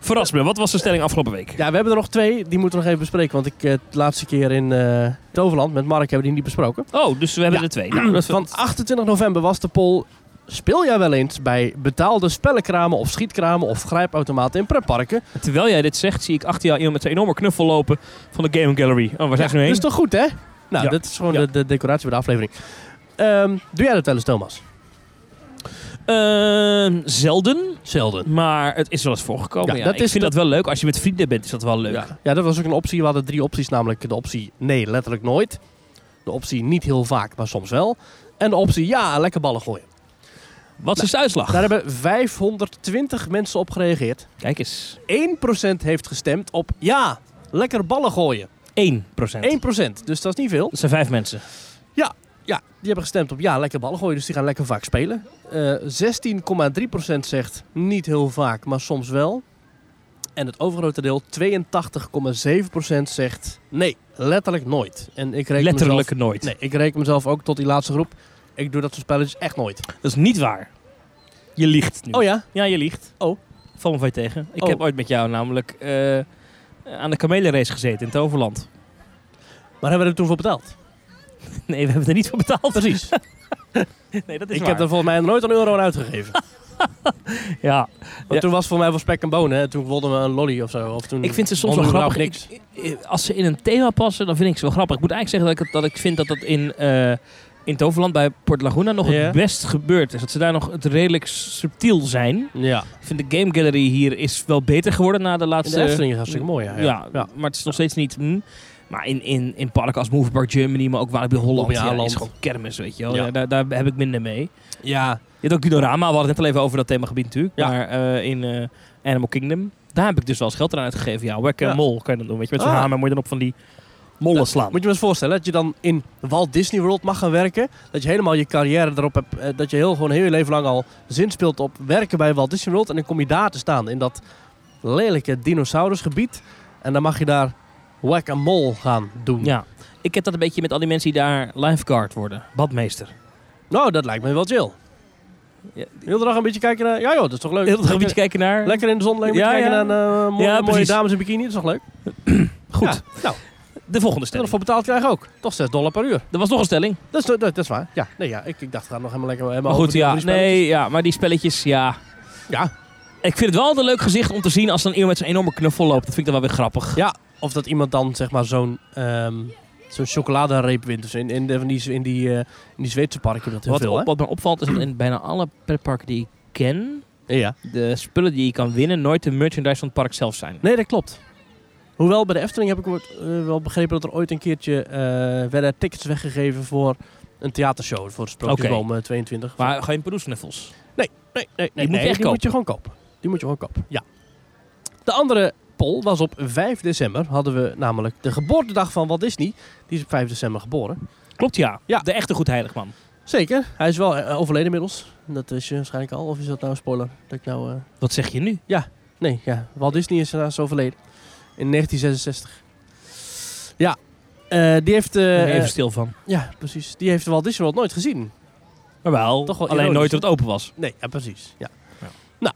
verras me. Wat was de stelling afgelopen week?
Ja, we hebben er nog twee. Die moeten we nog even bespreken. Want ik eh, de laatste keer in eh, Toverland met Mark hebben die niet besproken.
Oh, dus we hebben
Ja.
er [clears throat] twee. Nou, [laughs] dat is
Van 28 november was de poll... Speel jij wel eens bij betaalde spellenkramen of schietkramen of grijpautomaten in pretparken?
Terwijl jij dit zegt, zie ik achter jou iemand met zijn enorme knuffel lopen van de Game Gallery. Oh, waar zijn ze
dat
nu heen?
is toch goed, hè? Nou,
Ja.
dat is gewoon
Ja.
de, de decoratie voor de aflevering. Ehm, doe jij dat wel eens, Thomas?
Ehm, zelden,
Zelden.
maar het is wel eens voorgekomen.
Ja,
Ja,
dat
ik
is
vind dat wel leuk. Als je met vrienden bent, is dat wel leuk.
Ja. ja, dat was ook een optie. We hadden drie opties, namelijk de optie nee, letterlijk nooit. De optie niet heel vaak, maar soms wel. En de optie ja, lekker ballen gooien.
Wat is de uitslag?
Daar hebben 520 mensen op gereageerd. 1%
Kijk eens. 1%.
heeft gestemd op ja, lekker ballen gooien. 1%, dus dat is niet veel.
Dat zijn vijf mensen.
Ja, die hebben gestemd op ja, lekker ballen gooien, dus die gaan lekker vaak spelen. Eh 16,3% zegt niet heel vaak, maar soms wel. En het overgrote deel, 82,7% zegt nee, letterlijk nooit. En ik reken
Letterlijk nooit.
mezelf, nee, ik reken mezelf ook tot die laatste groep. Ik doe dat soort spelletjes echt nooit.
Dat is niet waar. Je liegt nu.
Oh ja?
Ja, je liegt.
Oh.
Val me van je tegen. Ik
Oh.
heb ooit met jou namelijk eh, aan de kamelenrace gezeten in Toverland.
Maar hebben we er toen voor betaald?
Nee, we hebben er niet voor betaald.
Precies.
[laughs] Nee, dat is
ik
waar.
heb er volgens mij nooit een euro aan
[laughs]
uitgegeven. Want
Ja. Ja.
toen was voor mij voor spek en bonen. Hè. Toen wonnen we een lolly of zo. Of toen
Ik vind ze soms wel
wonnen we überhaupt
grappig. Ik- ik- als ze in een thema passen, dan vind ik ze wel grappig. Ik moet eigenlijk zeggen dat ik, dat ik vind dat dat in, eh, in Toverland bij Port Laguna nog
Ja.
het best gebeurd is. Dat ze daar nog het redelijk subtiel zijn.
Ja.
Ik vind de Game Gallery hier is wel beter geworden na de
In
laatste...
de Efteling is hartstikke mooi. Ja,
eh, ja,
ja.
maar het is nog steeds niet... hm. Maar in, in, in parken als Movie Park Germany, maar ook Walibi Holland,
Walibi
ja,
Holland.
is gewoon kermis, weet je wel.
Ja.
Ja, Daar, daar heb ik minder mee.
ja
Je hebt ook Dinorama, we hadden het net al even over dat themagebied natuurlijk.
Ja.
Maar eh, in eh, Animal Kingdom, daar heb ik dus wel eens geld aan uitgegeven. Ja, whack
Ja.
en mol kan je dan doen. Weet je, met zo'n
Ah.
hamer moet je dan op van die mollen
Nou,
slaan.
Moet je me eens voorstellen dat je dan in Walt Disney World mag gaan werken. Dat je helemaal je carrière erop hebt. eh, Dat je heel, gewoon heel je leven lang al zin speelt op werken bij Walt Disney World. En dan kom je daar te staan in dat lelijke dinosaurusgebied. En dan mag je daar whack-a-mole gaan doen.
Ja, ik heb dat een beetje met al die mensen die daar lifeguard worden. Badmeester.
Nou, dat lijkt me wel chill.
Ja.
Heel de dag een beetje kijken naar... Ja joh, dat is toch leuk.
Heel dag een
Lekker-
beetje kijken
[laughs]
naar.
Lekker in de zon, lekker
Ja,
kijken
ja.
naar eh, mooie,
Ja,
mooie
precies.
dames in bikini. Dat is toch leuk?
Goed,
Ja, nou,
de volgende stelling.
ervoor betaald krijgen ook. Toch 6 dollar per uur.
Er was nog een stelling.
Dat is, dat, dat is waar. Ja, nee, ja. Ik, ik dacht, we gaan nog helemaal lekker... Helemaal
Maar
over
goed,
die-
ja.
over die spelletjes.
Nee, ja, maar die spelletjes, ja.
Ja,
Ik vind het wel altijd een leuk gezicht om te zien als dan iemand met zijn enorme knuffel loopt. Dat vind ik dan wel weer grappig.
Ja, of dat iemand dan zeg maar zo'n ehm zo'n chocoladereep wint. Dus in, in, de, in, die, in, die, eh, in die Zweedse parken dat heel
Wat,
veel,
op-
hè?
wat me opvalt is dat in bijna alle pretparken die ik ken,
Ja.
de spullen die je kan winnen nooit de merchandise van het park zelf zijn.
Nee, dat klopt. Hoewel, bij de Efteling heb ik ooit, eh, wel begrepen dat er ooit een keertje eh werden er tickets weggegeven voor een theatershow. Voor Sprookjesboom eh, 22.
Maar geen Peroesnuffels.
Nee, nee, nee.
moet je
nee,
echt
die moet je gewoon kopen. Die moet je gewoon kopen, ja. De andere poll was op 5 december. Hadden we namelijk de geboortedag van Walt Disney. Die is op 5 december geboren.
Klopt ja.
Ja.
De echte goed heilig man.
Zeker. Hij is wel eh, overleden inmiddels. Dat is je waarschijnlijk al. Of is dat nou een spoiler? Dat ik nou... eh,
Wat zeg je nu?
Nee, ja. Walt Disney is helaas overleden. In 1966. Ja. Eh, die heeft... eh,
ben er even
eh,
stil van.
ja, precies. Die heeft Walt Disney World nooit gezien.
Maar eh, wel,
toch wel
alleen
ironisch,
nooit dat het open was.
Nee, ja, precies. Ja.
Ja.
Nou,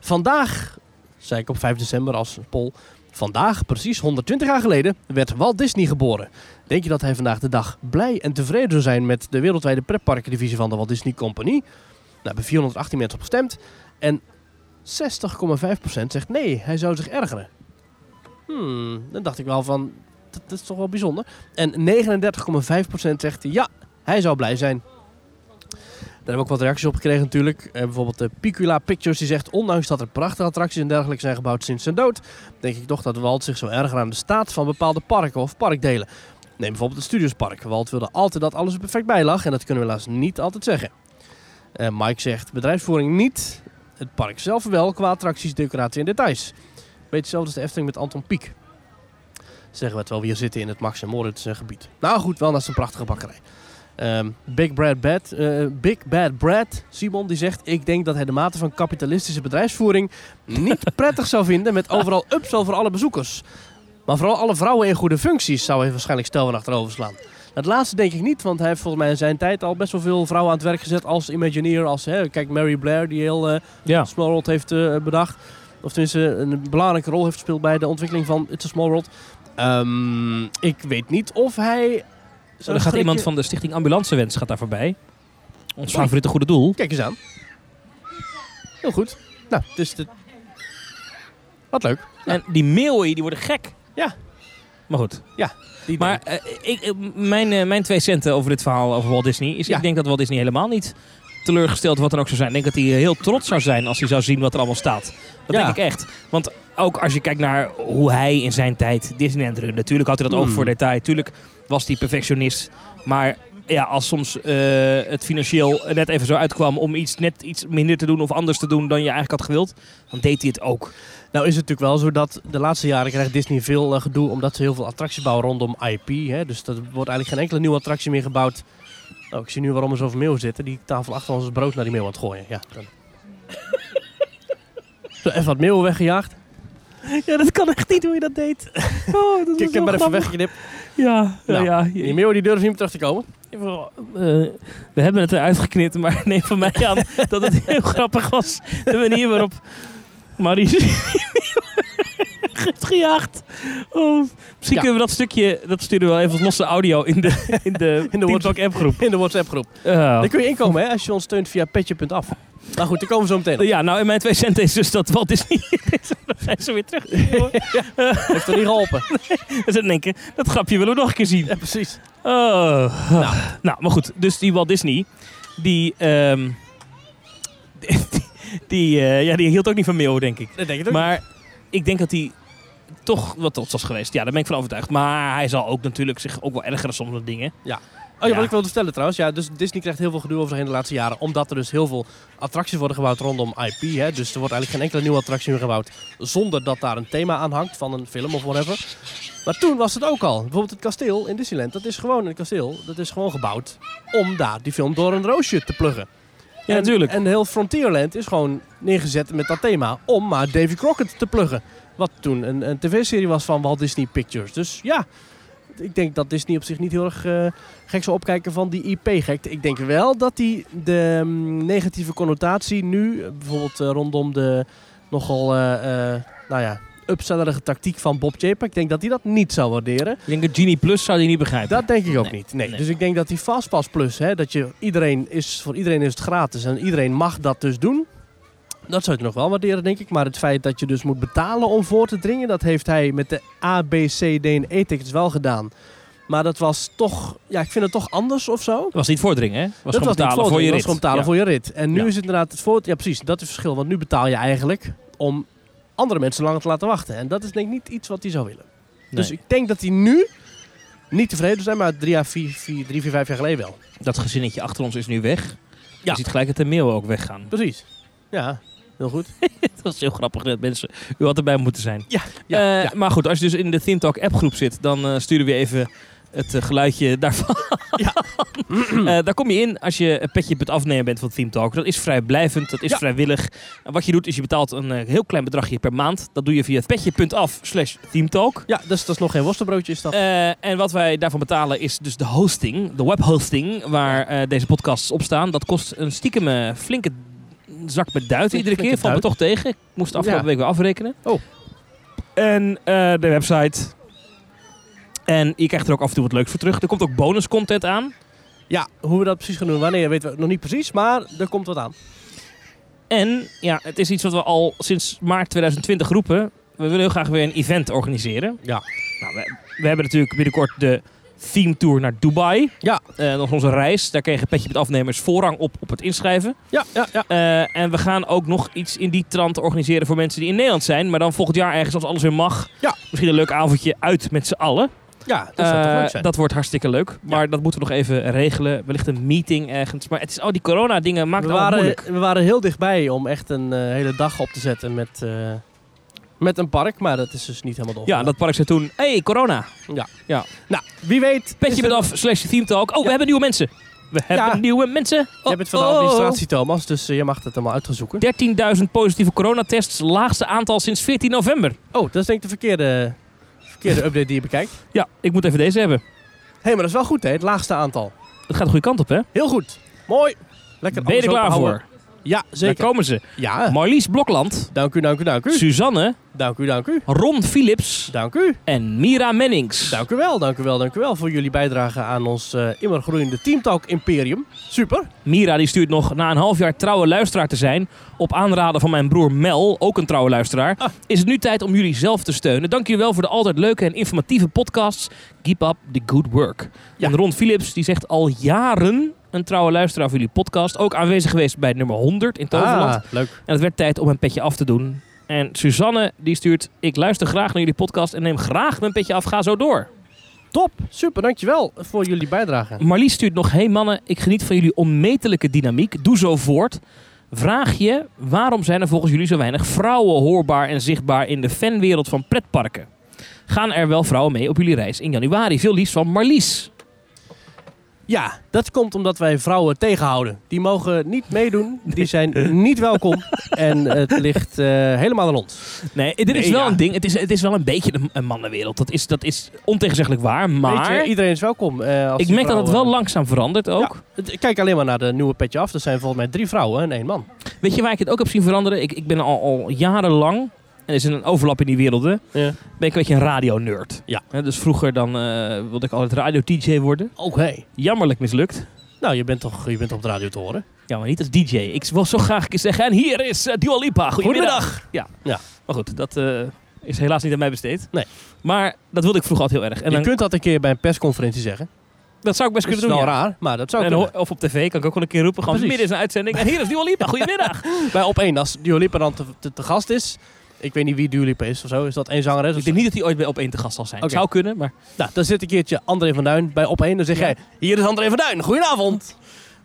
vandaag, zei ik op 5 december als poll... Vandaag, precies 120 jaar geleden, werd Walt Disney geboren. Denk je dat hij vandaag de dag blij en tevreden zou zijn... met de wereldwijde pretparkendivisie van de Walt Disney Company? Daar hebben 418 mensen op gestemd. En 60,5% zegt nee, hij zou zich ergeren. Hmm, dan dacht ik wel van, dat, dat is toch wel bijzonder. En 39,5% zegt ja, hij zou blij zijn. Daar hebben we ook wat reacties op gekregen natuurlijk. Eh, bijvoorbeeld de Picula Pictures die zegt... ondanks dat er prachtige attracties en dergelijke zijn gebouwd sinds zijn dood... denk ik toch dat Walt zich zo erger aan de staat van bepaalde parken of parkdelen. Neem bijvoorbeeld het Studiospark. Walt wilde altijd dat alles er perfect bij lag en dat kunnen we helaas niet altijd zeggen. Eh, Mike zegt bedrijfsvoering niet, het park zelf wel qua attracties, decoratie en details. Beetje hetzelfde als de Efteling met Anton Pieck. Zeggen we het wel, we hier zitten in het Max en Moritz eh, gebied. Nou goed, wel naast een prachtige bakkerij. Ehm, Big, Brad Bad, eh, Big Bad Brad, Simon, die zegt... Ik denk dat hij de mate van kapitalistische bedrijfsvoering
[laughs]
niet prettig zou vinden... met overal upsell voor alle bezoekers. Maar vooral alle vrouwen in goede functies zou hij waarschijnlijk stel van achterover slaan. Dat laatste denk ik niet, want hij heeft volgens mij in zijn tijd al best wel veel vrouwen aan het werk gezet als Imagineer. Als, hè, kijk, Mary Blair, die heel eh,
Ja.
Small World heeft eh, bedacht. Of tenminste een belangrijke rol heeft gespeeld bij de ontwikkeling van It's a Small World. Ehm, ik weet niet of hij...
Zo, er gaat iemand van de Stichting Ambulancewens gaat daar voorbij. Ons favoriete goede doel.
Kijk eens aan. Heel goed. Nou, dus de... Wat leuk.
En die meeuwen, die worden gek.
Ja.
Maar goed.
Die
Maar eh, ik, eh, mijn, eh, mijn twee centen over dit verhaal over Walt Disney is...
Ja.
Ik denk dat Walt Disney helemaal niet teleurgesteld wat dan ook zou zijn. Ik denk dat hij eh, heel trots zou zijn als hij zou zien wat er allemaal staat. Dat
Ja.
denk ik echt. Want ook als je kijkt naar hoe hij in zijn tijd Disneyland runde. Natuurlijk had hij dat ook
Hmm.
voor detail. Tuurlijk was hij perfectionist. Maar ja, als soms eh, het financieel net even zo uitkwam om iets net iets minder te doen of anders te doen dan je eigenlijk had gewild, dan deed hij het ook.
Nou is het natuurlijk wel zo dat de laatste jaren krijgt Disney veel eh, gedoe omdat ze heel veel attracties bouwen rondom IP. Hè? Dus er wordt eigenlijk geen enkele nieuwe attractie meer gebouwd. Oh, ik zie nu waarom er zoveel meeuwen zitten. Die tafel achter ons is brood naar die meeuw aan het gooien. Ja, dan- [laughs] zo, even wat meeuwen weggejaagd.
Ja, dat kan echt niet hoe je dat deed. [laughs] Oh, dat
Ik heb maar even weggeknipt.
Ja,
Nou,
ja.
Die meeuwen die durven niet meer terug te komen. [laughs]
eh, we hebben het eruit geknipt, maar [laughs] neem van mij aan dat het heel grappig was. De manier waarop Marie heeft [laughs] gejaagd. Oh, misschien
Ja.
kunnen we dat stukje, dat sturen we wel even als losse audio in de, in de,
[laughs] In de
Teamtalk app groep.
In de WhatsApp groep. Daar kun je inkomen hè, als je ons steunt via petje.af. Nou goed, daar komen we zo [laughs] meteen op.
ja, nou en mijn twee centen is dus dat Walt Disney... [laughs] We zijn ze weer terug.
[laughs] Heeft er niet geholpen.
We zijn denken, dat grapje willen we nog een keer zien.
Ja, precies.
Oh. Nou. maar goed. Dus die Walt Disney, die... ehm, [laughs] die, die, eh, ja, die hield ook niet van meeuwen, denk ik.
Dat denk ik ook.
Maar ik denk dat hij toch wat trots was geweest. Ja, daar ben ik van overtuigd. Maar hij zal ook natuurlijk zich ook wel ergeren soms aan dingen.
Oh ja,
Ja.
wat ik wilde vertellen trouwens. Ja, dus Disney krijgt heel veel gedoe over zich heen de laatste jaren. Omdat er dus heel veel attracties worden gebouwd rondom IP. Hè. Dus er wordt eigenlijk geen enkele nieuwe attractie meer gebouwd. Zonder dat daar een thema aan hangt van een film of whatever. Maar toen was het ook al. Bijvoorbeeld het kasteel in Disneyland. Dat is gewoon een kasteel. Dat is gewoon gebouwd om daar die film door een roosje te pluggen.
Ja,
En-
natuurlijk.
En heel Frontierland is gewoon neergezet met dat thema om maar Davy Crockett te pluggen. Wat toen een, een tv-serie was van Walt Disney Pictures. Dus ja, ik denk dat Disney op zich niet heel erg eh, gek zou opkijken van die IP-gekte. Ik denk wel dat die de mm, negatieve connotatie nu, eh, bijvoorbeeld eh, rondom de nogal, eh, eh, nou ja, upsellerige tactiek van Bob Chapek, ik denk dat hij dat niet zou waarderen.
Ik denk dat Genie Plus zou die niet begrijpen.
Dat denk ik ook
Nee,
niet. Nee.
nee.
Dus ik denk dat die Fastpass Plus, hè, dat je iedereen is, voor iedereen is het gratis en iedereen mag dat dus doen. Dat zou ik nog wel waarderen, denk ik. Maar het feit dat je dus moet betalen om voor te dringen, dat heeft hij met de A, B, C, D en E-tickets wel gedaan. Maar dat was toch, ja, ik vind het toch anders of zo.
was niet voordringen, hè? Was
dat
gewoon
was niet
betalen voor je
dat
rit.
was gewoon betalen
Ja.
voor je rit. En nu
Ja.
is het inderdaad het voordeel. Ja, precies. Dat is het verschil. Want nu betaal je eigenlijk om andere mensen langer te laten wachten. En dat is denk ik niet iets wat hij zou willen.
Nee,
Dus ik denk dat hij nu niet tevreden zou zijn, maar drie, jaar, vier, vier, drie, vier, vijf jaar geleden wel.
Dat gezinnetje achter ons is nu weg.
Ja.
Je ziet gelijk dat de meeuwen ook weggaan.
Precies. Ja, heel goed.
[laughs] Dat is heel grappig net, mensen. U had erbij moeten zijn.
Ja,
Eh, Maar goed, als je dus in de Thintalk appgroep zit, dan eh, sturen we even het eh, geluidje daarvan. [laughs] Eh, daar kom je in als je een petje op het afnemen bent van Thintalk. Dat is vrijblijvend, dat is
Ja.
vrijwillig. En wat je doet is je betaalt een eh, heel klein bedragje per maand. Dat doe je via petje.af slash Thintalk.
ja dus dat is nog geen worstenbroodje is dat.
Eh, en wat wij daarvan betalen is dus de hosting, de webhosting, waar eh, deze podcasts op staan. Dat kost een stiekem eh, flinke zak met duiten iedere
Flinke
keer. Valt me
duit.
toch tegen. Ik moest de afgelopen
Ja.
week weer afrekenen.
Oh.
En eh, de website. En je krijgt er ook af en toe wat leuks voor terug. Er komt ook bonus content aan.
ja, hoe we dat precies gaan doen, wanneer weten we nog niet precies, maar er komt wat aan.
En ja, het is iets wat we al sinds maart 2020 roepen. We willen heel graag weer een event organiseren.
Ja.
Nou, we, we hebben natuurlijk binnenkort de theme tour naar Dubai.
Ja.
Eh, nog onze reis. Daar kregen Petje met afnemers voorrang op op het inschrijven.
Ja, ja, ja.
Eh, en we gaan ook nog iets in die trant organiseren voor mensen die in Nederland zijn. Maar dan volgend jaar ergens als alles weer mag.
Ja.
Misschien een leuk avondje uit met z'n allen.
Ja, dus dat zou toch
Eh,
leuk zijn.
dat wordt hartstikke leuk. Maar dat moeten we nog even regelen. Wellicht een meeting ergens. Maar het is al die corona-dingen maakt
we,
het allemaal moeilijk.
waren, we waren heel dichtbij om echt een eh, hele dag op te zetten met, eh, met een park. Maar dat is dus niet helemaal door.
Ja, dat park zei toen, hey, corona.
Nou, wie weet... is
Petje
er-
met af, slash theme talk. Oh, we
Ja.
hebben nieuwe mensen. We hebben nieuwe mensen. Oh,
Je hebt het van de
oh, oh.
administratie, Thomas. Dus eh, je mag het allemaal uitgezoeken.
13.000 positieve coronatests. Laagste aantal sinds 14 november.
Oh, dat is denk ik de verkeerde, [laughs] verkeerde update die je bekijkt. Hé,
Ja, ik moet even deze hebben.
hey, maar dat is wel goed, hè? Het laagste aantal.
Het gaat de goede kant op, hè?
Heel goed. Mooi. Lekker
ben je er
alles
klaar
openhouden.
voor?
Ja, zeker.
Daar komen ze.
Ja. Hm.
Marlies Blokland,
Dank u, dank u, dank u.
Suzanne,
Dank u, dank u.
Ron Philips
Dank u.
en Mira Mennings.
Dank u wel, dank u wel, dank u wel voor jullie bijdrage aan ons eh, immer groeiende Teamtalk Imperium. Super.
Mira die stuurt nog na een half jaar trouwe luisteraar te zijn. Op aanraden van mijn broer Mel, ook een trouwe luisteraar.
Ah.
Is het nu tijd om jullie zelf te steunen. Dank jullie wel voor de altijd leuke en informatieve podcasts. Keep up the good work.
Ja.
En Ron Philips die zegt al jaren een trouwe luisteraar van jullie podcast. Ook aanwezig geweest bij nummer 100 in Toverland.
Ah, leuk.
En het werd tijd om mijn petje af te doen. En Suzanne die stuurt, ik luister graag naar jullie podcast en neem graag mijn petje af. Ga zo door.
Top. Super, dankjewel voor jullie bijdrage.
Marlies stuurt nog: Hey mannen, ik geniet van jullie onmetelijke dynamiek. Doe zo voort. Vraag je, waarom zijn er volgens jullie zo weinig vrouwen hoorbaar en zichtbaar in de fanwereld van pretparken? Gaan er wel vrouwen mee op jullie reis in januari? Veel liefst van Marlies.
Ja, dat komt omdat wij vrouwen tegenhouden. Die mogen niet meedoen, [laughs] die zijn niet welkom en het ligt eh, helemaal aan ons.
Nee, dit is
Nee,
wel
ja.
een ding. Het is, het is wel een beetje een, een mannenwereld. Dat is, dat is ontegenzeggelijk waar. Maar
Weet je, iedereen is welkom. eh, als
ik
die
merk dat het wel
vrouwen-
langzaam verandert ook.
Het- Kijk alleen maar naar de nieuwe petje af. Er zijn volgens mij drie vrouwen en één man.
Weet je waar ik het ook heb zien veranderen? Ik, ik ben al, al jarenlang, en er is een overlap in die werelden,
Ja.
ben ik een beetje een radio-nerd.
Ja.
Hè, dus vroeger dan eh, wilde ik altijd radio-dj worden.
Oké.
Jammerlijk mislukt.
Nou, je bent toch je bent op de radio te horen?
Ja, maar niet als dj. Ik wil zo graag een keer zeggen, en hier is eh, Dua Lipa. Goedemiddag. Ja.
Ja.
Maar goed, dat eh, is helaas niet aan mij besteed.
Nee.
Maar dat wilde ik vroeger altijd heel erg. En
je
dan,
kunt dat een keer bij een persconferentie zeggen.
dat zou ik best
Dat is
kunnen
wel
doen, ja.
raar, maar dat zou
En,
kunnen.
ho- of op tv kan ik ook wel een keer roepen, gewoon
Precies.
midden in een uitzending. En hier is Dua Lipa.
[laughs]
Goedemiddag.
Bij op één, als Dua Lipa dan te, te, te gast is... Ik weet niet wie Dua Lipa is of zo. Is dat één zangeres? Of
ik
zo?
denk niet dat hij ooit bij Opeen te gast zal zijn.
Oké.
Zou kunnen, maar...
Nou, dan zit een keertje André van Duin bij op één. Dan zeg
Ja.
jij, hier is André van Duin. Goedenavond.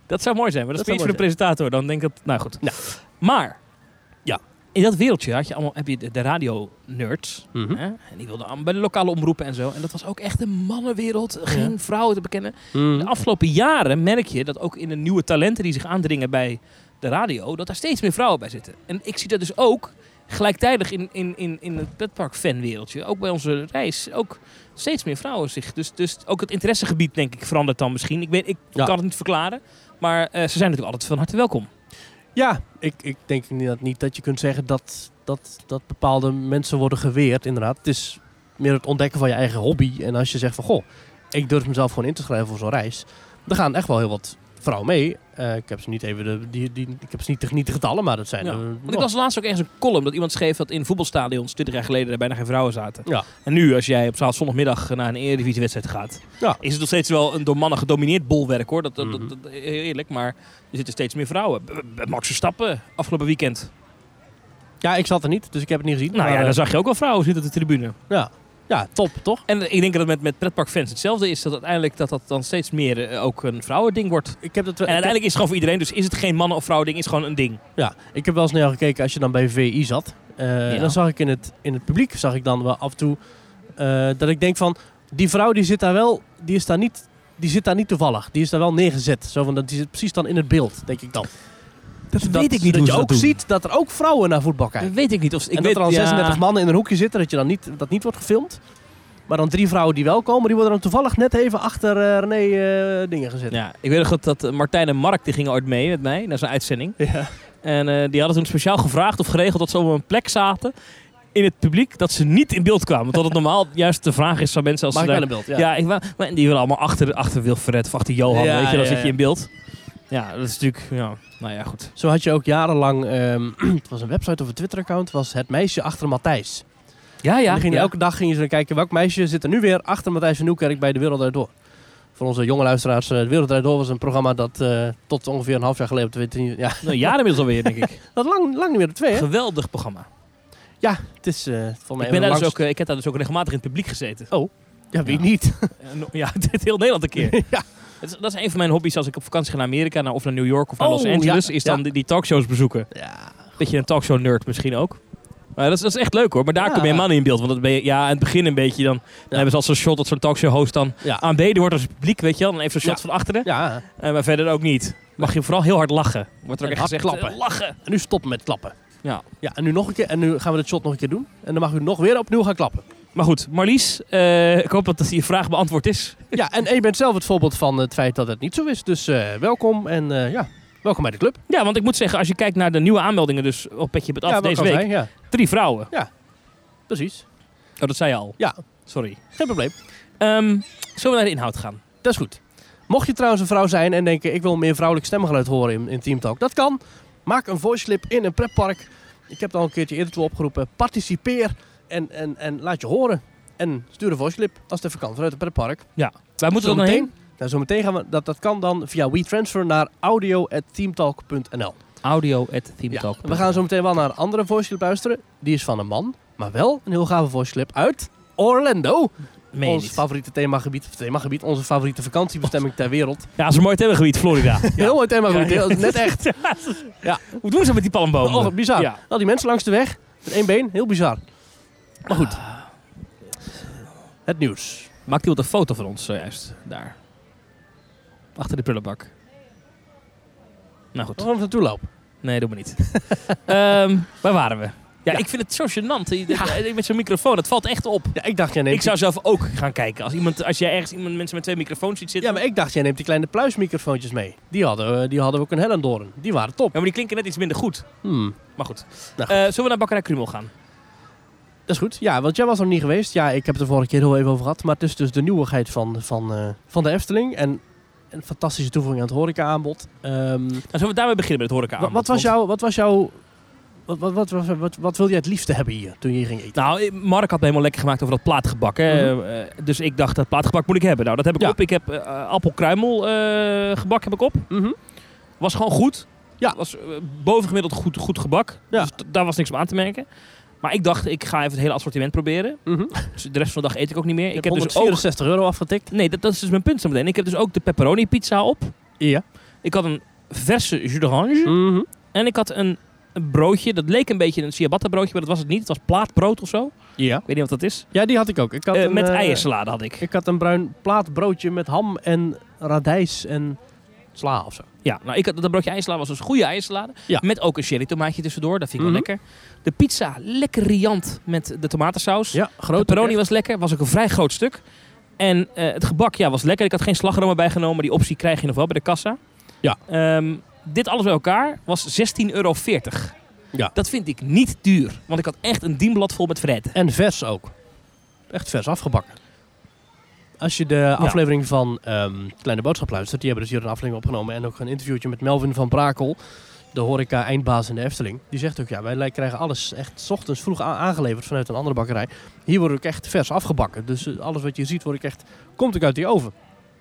Dat zou mooi zijn, maar dat,
Dat
is meer
zou
voor de presentator. Dan denk ik dat, nou goed.
Nou.
Maar,
Ja.
in dat wereldje had je allemaal, heb je de, de radio-nerds.
Mhm.
hè? En die wilden allemaal bij de lokale omroepen en zo. En dat was ook echt een mannenwereld. Geen
Ja.
vrouwen te bekennen.
Mhm.
De afgelopen jaren merk je dat ook in de nieuwe talenten die zich aandringen bij de radio, dat daar steeds meer vrouwen bij zitten. En ik zie dat dus ook gelijktijdig in, in, in, in het pretpark-fanwereldje. Ook bij onze reis. Ook steeds meer vrouwen zich. Dus, dus ook het interessegebied, denk ik, verandert dan misschien. Ik, weet, ik
Ja.
kan het niet verklaren. Maar eh, ze zijn natuurlijk altijd van harte welkom.
Ja, ik, ik denk inderdaad niet dat je kunt zeggen dat, dat, dat bepaalde mensen worden geweerd. Inderdaad, het is meer het ontdekken van je eigen hobby. En als je zegt van, goh, ik durf mezelf gewoon in te schrijven voor zo'n reis. Dan gaan echt wel heel wat vrouwen mee. Eh, ik heb ze niet even de, die, die, ik heb ze niet de, niet de getallen, maar dat zijn
Ja.
er-
Want ik las laatst ook ergens een column dat iemand schreef dat in voetbalstadions 20 jaar geleden er bijna geen vrouwen zaten.
Ja.
En nu, als jij op zaterdagmiddag naar een Eredivisiewedstrijd gaat,
Ja.
is het nog steeds wel een door mannen gedomineerd bolwerk hoor. Dat, dat, dat-
Mhm.
dat- heel eerlijk, maar er zitten steeds meer vrouwen. B- b- Max Verstappen afgelopen weekend.
ja, ik zat er niet, dus ik heb het niet gezien.
Nou
Maar,
ja,
eh,
daar zag je ook wel vrouwen zitten op de tribune.
ja. ja, top, toch?
En ik denk dat het met, met pretparkfans hetzelfde is. Dat uiteindelijk dat, dat dan steeds meer eh, ook een vrouwending wordt. En
Ik heb dat wel- ik heb-
uiteindelijk is het gewoon voor iedereen. Dus is het geen mannen- of vrouwending, is gewoon een ding.
Ja, ik heb wel eens naar gekeken als je dan bij VI zat. Eh, en Dan zag ik in het, in het publiek, zag ik dan wel af en toe, eh, dat ik denk van, die vrouw die zit daar wel, die, is daar niet, die zit daar niet toevallig. Die is daar wel neergezet. Zo van, dat- die zit precies dan in het beeld, denk ik dan.
Dat,
Dat je ook ziet dat er ook vrouwen naar voetbal kijken.
Dat weet ik niet. Of, ik
en
weet,
dat er al
ja.
36 mannen in een hoekje zitten, dat je dan niet, dat niet wordt gefilmd. Maar dan drie vrouwen die wel komen, die worden dan toevallig net even achter eh, René eh, dingen gezet.
Ja, ik weet nog goed dat eh, Martijn en Mark die gingen ooit mee met mij naar zijn uitzending.
Ja.
En eh, die hadden toen speciaal gevraagd of geregeld dat ze op een plek zaten in het publiek dat ze niet in beeld kwamen.
[laughs]
Want dat het normaal juist de vraag is van mensen als
Mag ik
ze
wel
daar...
in beeld? Ja.
Ja, ik wou- maar die willen allemaal achter, achter Wilfred of achter Johan,
Ja,
weet je, dan
ja,
zit je
ja.
in beeld. Ja, dat is natuurlijk, ja, nou ja, goed.
Zo had je ook jarenlang, ehm, [clears throat] het was een website of een Twitter-account, was het meisje achter Matthijs.
Ja,
En
ja.
dan ging je
ja.
elke dag ging je zo kijken welk meisje zit er nu weer achter Matthijs van Nieuwkerk bij De Wereld Draait Door. Voor onze jonge luisteraars, eh, De Wereld Draait Door was een programma dat eh, tot ongeveer een half jaar geleden op Twitter... niet- Ja, [laughs]
Nou, jaren inmiddels alweer, denk ik.
dat lang, lang niet meer op twee, hè?
Geweldig programma.
Het is eh volgens mij
ik, ben
een
daar dus
langs-
ook, eh, ik heb daar dus ook regelmatig in het publiek gezeten.
Oh. Ja, wie
Ja.
niet?
No- [laughs] Ja, dit heel Nederland een keer.
[laughs] ja.
Dat is, dat is een van mijn hobby's als ik op vakantie ga naar Amerika nou, of naar New York of naar
Oh,
Los Angeles.
ja,
Is dan
ja.
die, die talkshows bezoeken.
ja.
Beetje een talkshow-nerd misschien ook. Maar dat is, dat is echt leuk hoor. Maar daar
Ja.
kom je helemaal niet in beeld. Want dat ben je, ja, aan het begin een beetje dan. Dan hebben ze al zo'n shot dat zo'n talkshow-host dan
Ja.
aan beden wordt als het publiek, weet je wel. Dan even zo'n shot
Ja.
van achteren.
Ja,
Eh, maar verder ook niet. Mag je vooral heel hard lachen. Wordt er ook
En
echt gezegd.
hard klappen.
eh, lachen.
en nu stoppen met klappen.
Ja.
Ja, en nu nog een keer. En nu gaan we dit shot nog een keer doen. En dan mag u nog weer opnieuw gaan klappen.
Maar goed, Marlies, eh, ik hoop dat dat je vraag beantwoord is.
Ja, en je bent zelf het voorbeeld van het feit dat het niet zo is. Dus eh, welkom en eh, ja, welkom bij de club.
Ja, want ik moet zeggen, als je kijkt naar de nieuwe aanmeldingen dus op Petje Bet Af
ja,
deze
welkom
week.
zijn, ja,
Drie vrouwen.
precies.
Oh, dat zei je al.
Ja.
Sorry.
Geen probleem.
Ehm, zullen we naar de inhoud gaan?
Dat is goed. Mocht je trouwens een vrouw zijn en denken, ik wil meer vrouwelijk stemgeluid horen in, in Team Talk. Dat kan. Maak een voice clip in een pretpark. Ik heb het al een keertje eerder toe opgeroepen. Participeer en, en, en laat je horen. En stuur een voice clip als het even kan vanuit het pretpark.
Wij moeten er dan
Zometeen-
heen.
Nou, zometeen gaan we, dat, dat kan dan via WeTransfer naar audio.teamtalk.nl.
Audio
Ja, we gaan zo meteen wel naar een andere voice clip luisteren. Die is van een man, maar wel een heel gave voice clip uit Orlando. ons favoriete themagebied, of themagebied, onze favoriete vakantiebestemming ter wereld.
Ja, dat is een mooi themagebied,
[laughs]
Florida.
Heel mooi themagebied, heel- net
[laughs]
echt.
Hoe doen ze met die palmbomen?
Oh, bizar.
Ja.
Al die mensen langs de weg, met één been, heel bizar. Maar goed. Het nieuws.
Maakt iemand een foto van ons
eh,
zojuist? Daar. Achter de prullenbak. Nou goed.
Waarom we naartoe lopen?
Nee, doe maar niet. [laughs] Ehm, waar waren we? Ja,
Ja.
ik vind het zo gênant. die- die- Met zo'n microfoon, dat valt echt op.
Ja, ik dacht, jij neemt...
Ik zou zelf ook gaan kijken. Als, iemand, als jij ergens iemand, mensen met twee microfoons ziet
die-
zitten.
Ja, maar ik dacht, jij neemt die kleine pluismicrofoontjes mee. Die hadden, we- die hadden we ook in Hellendoorn. Die waren top.
Ja, maar die klinken net iets minder goed.
Hmm.
Maar goed.
Nou, goed.
Eh, zullen we naar Bakkerij Krumel gaan?
Dat is goed. Ja, want jij was nog niet geweest. Ja, ik heb het er vorige keer heel even over gehad. Maar het is dus de nieuwigheid van, van, eh, van de Efteling. En een fantastische toevoeging aan het horeca-aanbod. Ehm, wa-
Nou, zullen we daarmee beginnen met het horeca
wat, was jouw... Wat, was jouw wat, wat, wat, wat, wat, wat wilde jij het liefste hebben hier toen je hier ging eten?
Nou, eh, Mark had me helemaal lekker gemaakt over dat plaatgebak. Hè.
Mhm.
Eh, eh, dus ik dacht, dat plaatgebak moet ik hebben. Nou, dat heb ik
Ja.
op. Ik heb eh, eh, appelkruimel eh, gebak heb ik op.
Mhm.
Was gewoon goed.
Ja.
Was eh, bovengemiddeld goed, goed gebak.
Ja.
Dus t- daar was niks op aan te merken. Maar ik dacht, ik ga even het hele assortiment proberen.
Mhm.
Dus de rest van de dag eet ik ook niet meer.
Je
Ik
hebt
heb dus ook...
164 euro afgetikt.
Nee, dat, dat is dus mijn punt zo meteen. Ik heb dus ook de pepperoni pizza op.
Ja.
Ik had een verse jus d'orange.
Mhm.
En ik had een, een broodje. Dat leek een beetje een ciabatta broodje, maar dat was het niet. Het was plaatbrood of zo.
Ja.
Ik weet niet wat dat is.
Ja, die had ik ook. Ik had
Eh,
een,
met
eh,
eiersalade had ik.
Ik had een bruin plaatbroodje met ham en radijs en sla of zo.
Ja, nou, ik had, dat broodje eiersalade was dus goede eiersalade.
Ja.
Met ook een cherry tomaatje tussendoor. Dat vind ik
Mhm.
wel lekker. De pizza lekker riant met de tomatensaus.
Ja,
de
groot.
pepperoni was lekker. Was ook een vrij groot stuk. En eh, het gebak ja, was lekker. Ik had geen slagroom erbij genomen. Die optie krijg je nog wel bij de kassa.
Ja.
Ehm, dit alles bij elkaar was 16,40 euro.
Ja.
Dat vind ik niet duur. Want ik had echt een dienblad vol met fretten.
En vers ook. Echt vers afgebakken. Als je de aflevering van ehm, Kleine Boodschap luistert, die hebben dus hier een aflevering opgenomen en ook een interviewtje met Melvin van Brakel, de horeca-eindbaas in de Efteling. Die zegt ook, ja, wij li- krijgen alles echt 's ochtends vroeg a- aangeleverd vanuit een andere bakkerij. Hier wordt ook echt vers afgebakken. Dus eh, alles wat je ziet, wordt ook echt, komt ook uit die oven.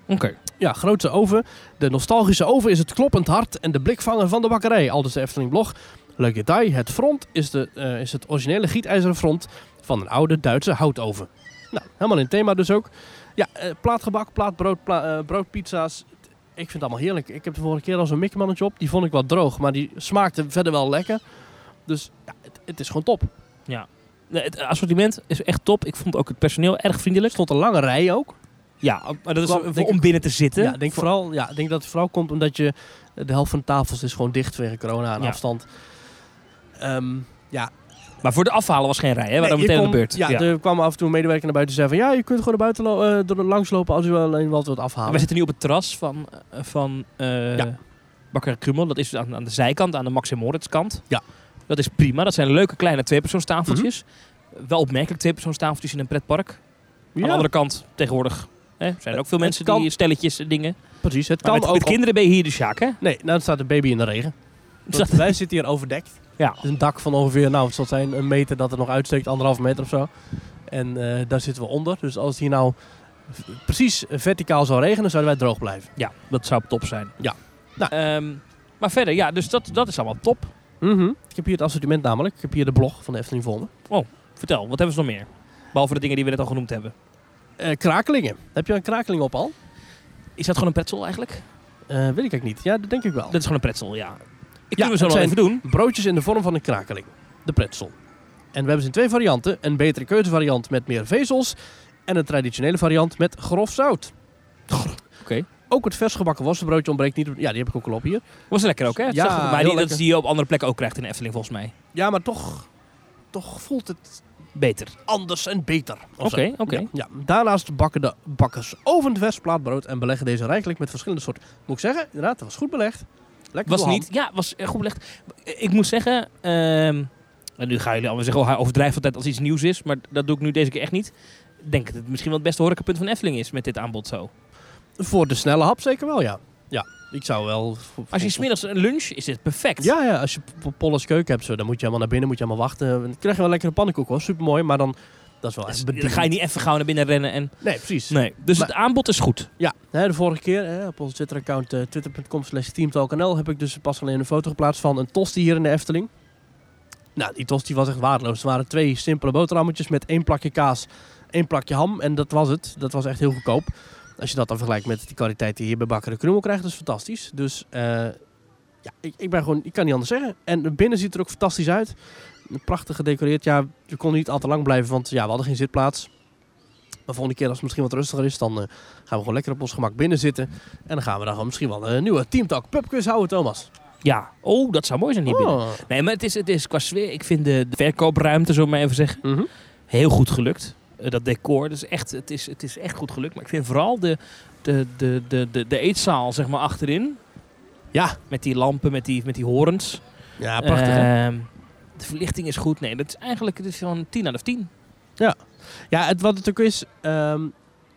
Oké.
Ja, grote oven. De nostalgische oven is het kloppend hart en de blikvanger van de bakkerij. Aldus de Efteling blog. Leuk detail, het front is, de, eh, is het originele gietijzeren front van een oude Duitse houtoven. Nou, helemaal in het thema dus ook. Ja, eh, plaatgebak, plaatbrood, pla- eh, broodpizza's. Ik vind het allemaal heerlijk. Ik heb de vorige keer al zo'n mikmannetje op. Die vond ik wat droog, maar die smaakte verder wel lekker. Dus ja, het, het is gewoon top.
Nee, Het assortiment is echt top. Ik vond ook het personeel erg
Er
vriendelijk.
stond een lange rij ook.
Ja, maar dat is
Wel,
voor-
denk
om
ik-
binnen te zitten.
Ja, ik denk
Voor-
vooral, ja, ik denk dat het vooral komt omdat je de helft van de tafels is gewoon dicht vanwege corona en
Ja.
afstand. Ehm, ja,
Maar voor de afhalen was geen rij, hè? Waarom
nee, je
meteen aan de
kon-
beurt?
Ja, er kwam af en toe een medewerker naar buiten en zei van ja, je kunt gewoon naar buiten lo- eh, er langs lopen als u alleen wat wilt afhalen.
We zitten nu op het terras van, eh, van eh
Ah, Ja.
Bakker Krummel. Dat is dus aan, aan de zijkant, aan de Max en Moritz kant.
Ja.
Dat is prima. Dat zijn leuke kleine tweepersoonstafeltjes. Wel opmerkelijk tweepersoonstafeltjes in een pretpark.
Mhm. Ja,
Aan de andere kant, tegenwoordig hè, zijn er ook veel
Het
mensen
kan-
die stelletjes en dingen. Maar
precies. Het kan
met,
ook.
met kinderen ben je hier de Sjaak, hè?
op- Nee, nou dan staat de baby in de [laughs] regen. Want wij zitten hier overdekt.
Ja.
Het is een dak van ongeveer, nou, het zal zijn een meter dat er nog uitsteekt, anderhalf meter of zo. En eh, daar zitten we onder. Dus als het hier nou v- precies verticaal zou regenen, zouden wij droog blijven.
Ja, dat zou top zijn.
Ja. Nou.
Ehm, maar verder, ja, dus dat, dat is allemaal top.
Mhm. Ik heb hier het assortiment namelijk. Ik heb hier de blog van de Efteling voor me.
Vertel, wat hebben ze nog meer? Behalve de dingen die we net al genoemd hebben.
Eh, krakelingen. Heb je een krakeling op al?
Is dat gewoon een pretzel eigenlijk?
Eh, weet ik eigenlijk niet. Ja, dat denk ik wel.
Dat is gewoon een pretzel, ja. Ik
Ja,
kunnen we zo
het
nog
zijn-
even doen.
Broodjes in de vorm van een krakeling. De pretzel. En we hebben ze in twee varianten. Een betere keuzevariant met meer vezels. En een traditionele variant met grof zout.
Oké.
Ook het vers gebakken worstenbroodje ontbreekt niet. op- Ja, die heb ik ook al op hier.
Was lekker ook, hè?
Ja,
Ja,
heel
maar die, dat
lekker.
is die je op andere plekken ook krijgt in de Efteling, volgens mij.
Ja, maar toch, toch voelt het
Beter.
anders en beter. of zo.
Oké, oké.
Ja, ja. Daarnaast bakken de bakkers ovendvers plaatbrood en beleggen deze rijkelijk met verschillende soorten. Moet ik zeggen, inderdaad, dat was goed belegd. Lekker
Was
door ham.
niet... Ja, was eh, goed belegd. Ik moet zeggen... ehm, en nu gaan jullie allemaal zeggen, oh, hij overdrijft altijd als iets nieuws is. Maar dat doe ik nu deze keer echt niet. Ik denk dat het misschien wel het beste horecapunt van Efteling is met dit aanbod zo.
Voor de snelle hap zeker wel, ja. Ja, ik zou wel... voor-
Als je
voor-
smiddags een lunch, is dit perfect.
Ja, ja, als je P- P- Polles keuken hebt, zo, dan moet je helemaal naar binnen, moet je helemaal wachten. Dan krijg je wel lekkere pannenkoek hoor, supermooi, maar dan... Dat is wel
Dus
echt
dan ga je niet even gauw naar binnen rennen en...
Nee, precies.
Nee. Dus
Maar-
het aanbod is goed.
Ja, hè, de vorige keer hè, op ons Twitter-account eh, twitter.com slash teamtalknl heb ik dus pas alleen een foto geplaatst van een tosti hier in de Efteling. Nou, die tosti was echt waardeloos. Het waren twee simpele boterhammetjes met één plakje kaas, één plakje ham en dat was het. Dat was echt heel goedkoop. Als je dat dan vergelijkt met de kwaliteit die je hier bij Bakker de Krummel krijgt, dat is fantastisch. Dus eh, ja, ik, ik ben gewoon, ik kan niet anders zeggen. En binnen ziet er ook fantastisch uit. Prachtig gedecoreerd. Ja, we konden niet al te lang blijven, want ja, we hadden geen zitplaats. Maar volgende keer als het misschien wat rustiger is, dan eh, gaan we gewoon lekker op ons gemak binnen zitten. En dan gaan we dan gewoon misschien wel een nieuwe Teamtalk pubquiz houden, Thomas.
Ja. Oh, dat zou mooi zijn hier binnen.
Oh.
Nee, maar het is, het is qua sfeer. Ik vind de, de verkoopruimte, zo maar even zeggen,
Mhm.
heel goed gelukt. Eh, dat decor, dus echt, het, is, het is echt goed gelukt. Maar ik vind vooral de, de, de, de, de, de eetzaal, zeg maar, achterin.
Ja.
Met die lampen, met die, met die horens.
Ja, prachtig. hè?
Ehm, de verlichting is goed. Nee, dat is eigenlijk het is van 10 uit of 10.
Ja, het, wat het ook is, ehm,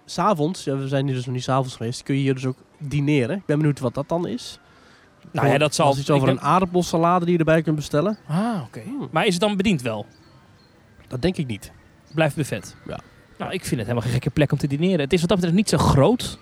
s s'avonds, ja, we zijn hier dus nog niet s'avonds geweest, kun je hier dus ook dineren. Ik ben benieuwd wat dat dan is.
Nou ja, dat zal-
Was Oh, iets over
ik
een aardappelsalade die je erbij kunt bestellen?
Ah, oké.
Hmm,
Maar is het dan bediend wel?
dat denk ik niet.
Blijft buffet?
Ja.
Nou, ik vind het helemaal geen gekke plek om te dineren. Het is wat dat betreft niet zo groot.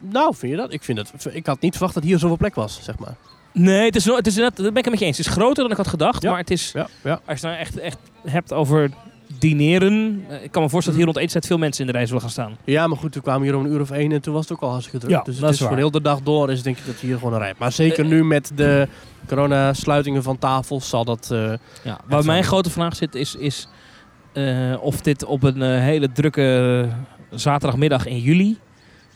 Nou, vind je dat? Ik, vind het, ik had niet verwacht dat hier zoveel plek was, zeg maar.
Nee, het is, wel- het is inderdaad, dat ben ik het met je eens. Het is groter dan ik had gedacht,
Ja.
maar het is...
Ja, ja.
Als je het nou echt, echt hebt over dineren. eh, Ik kan me voorstellen dat hier rond eettijd veel mensen in de rij zullen gaan staan.
ja, maar goed, we kwamen hier om een uur of één en toen was het ook al hartstikke druk.
Ja,
dus
dat
het
is
is voor
waar. Eh,
heel de dag door, is denk ik dat hier gewoon een rij. Maar zeker nu met de coronasluitingen van tafels zal dat... eh,
Ja,
Dat
waar
is
mijn
waar.
grote vraag zit is, is eh, of dit op een eh, hele drukke zaterdagmiddag in juli...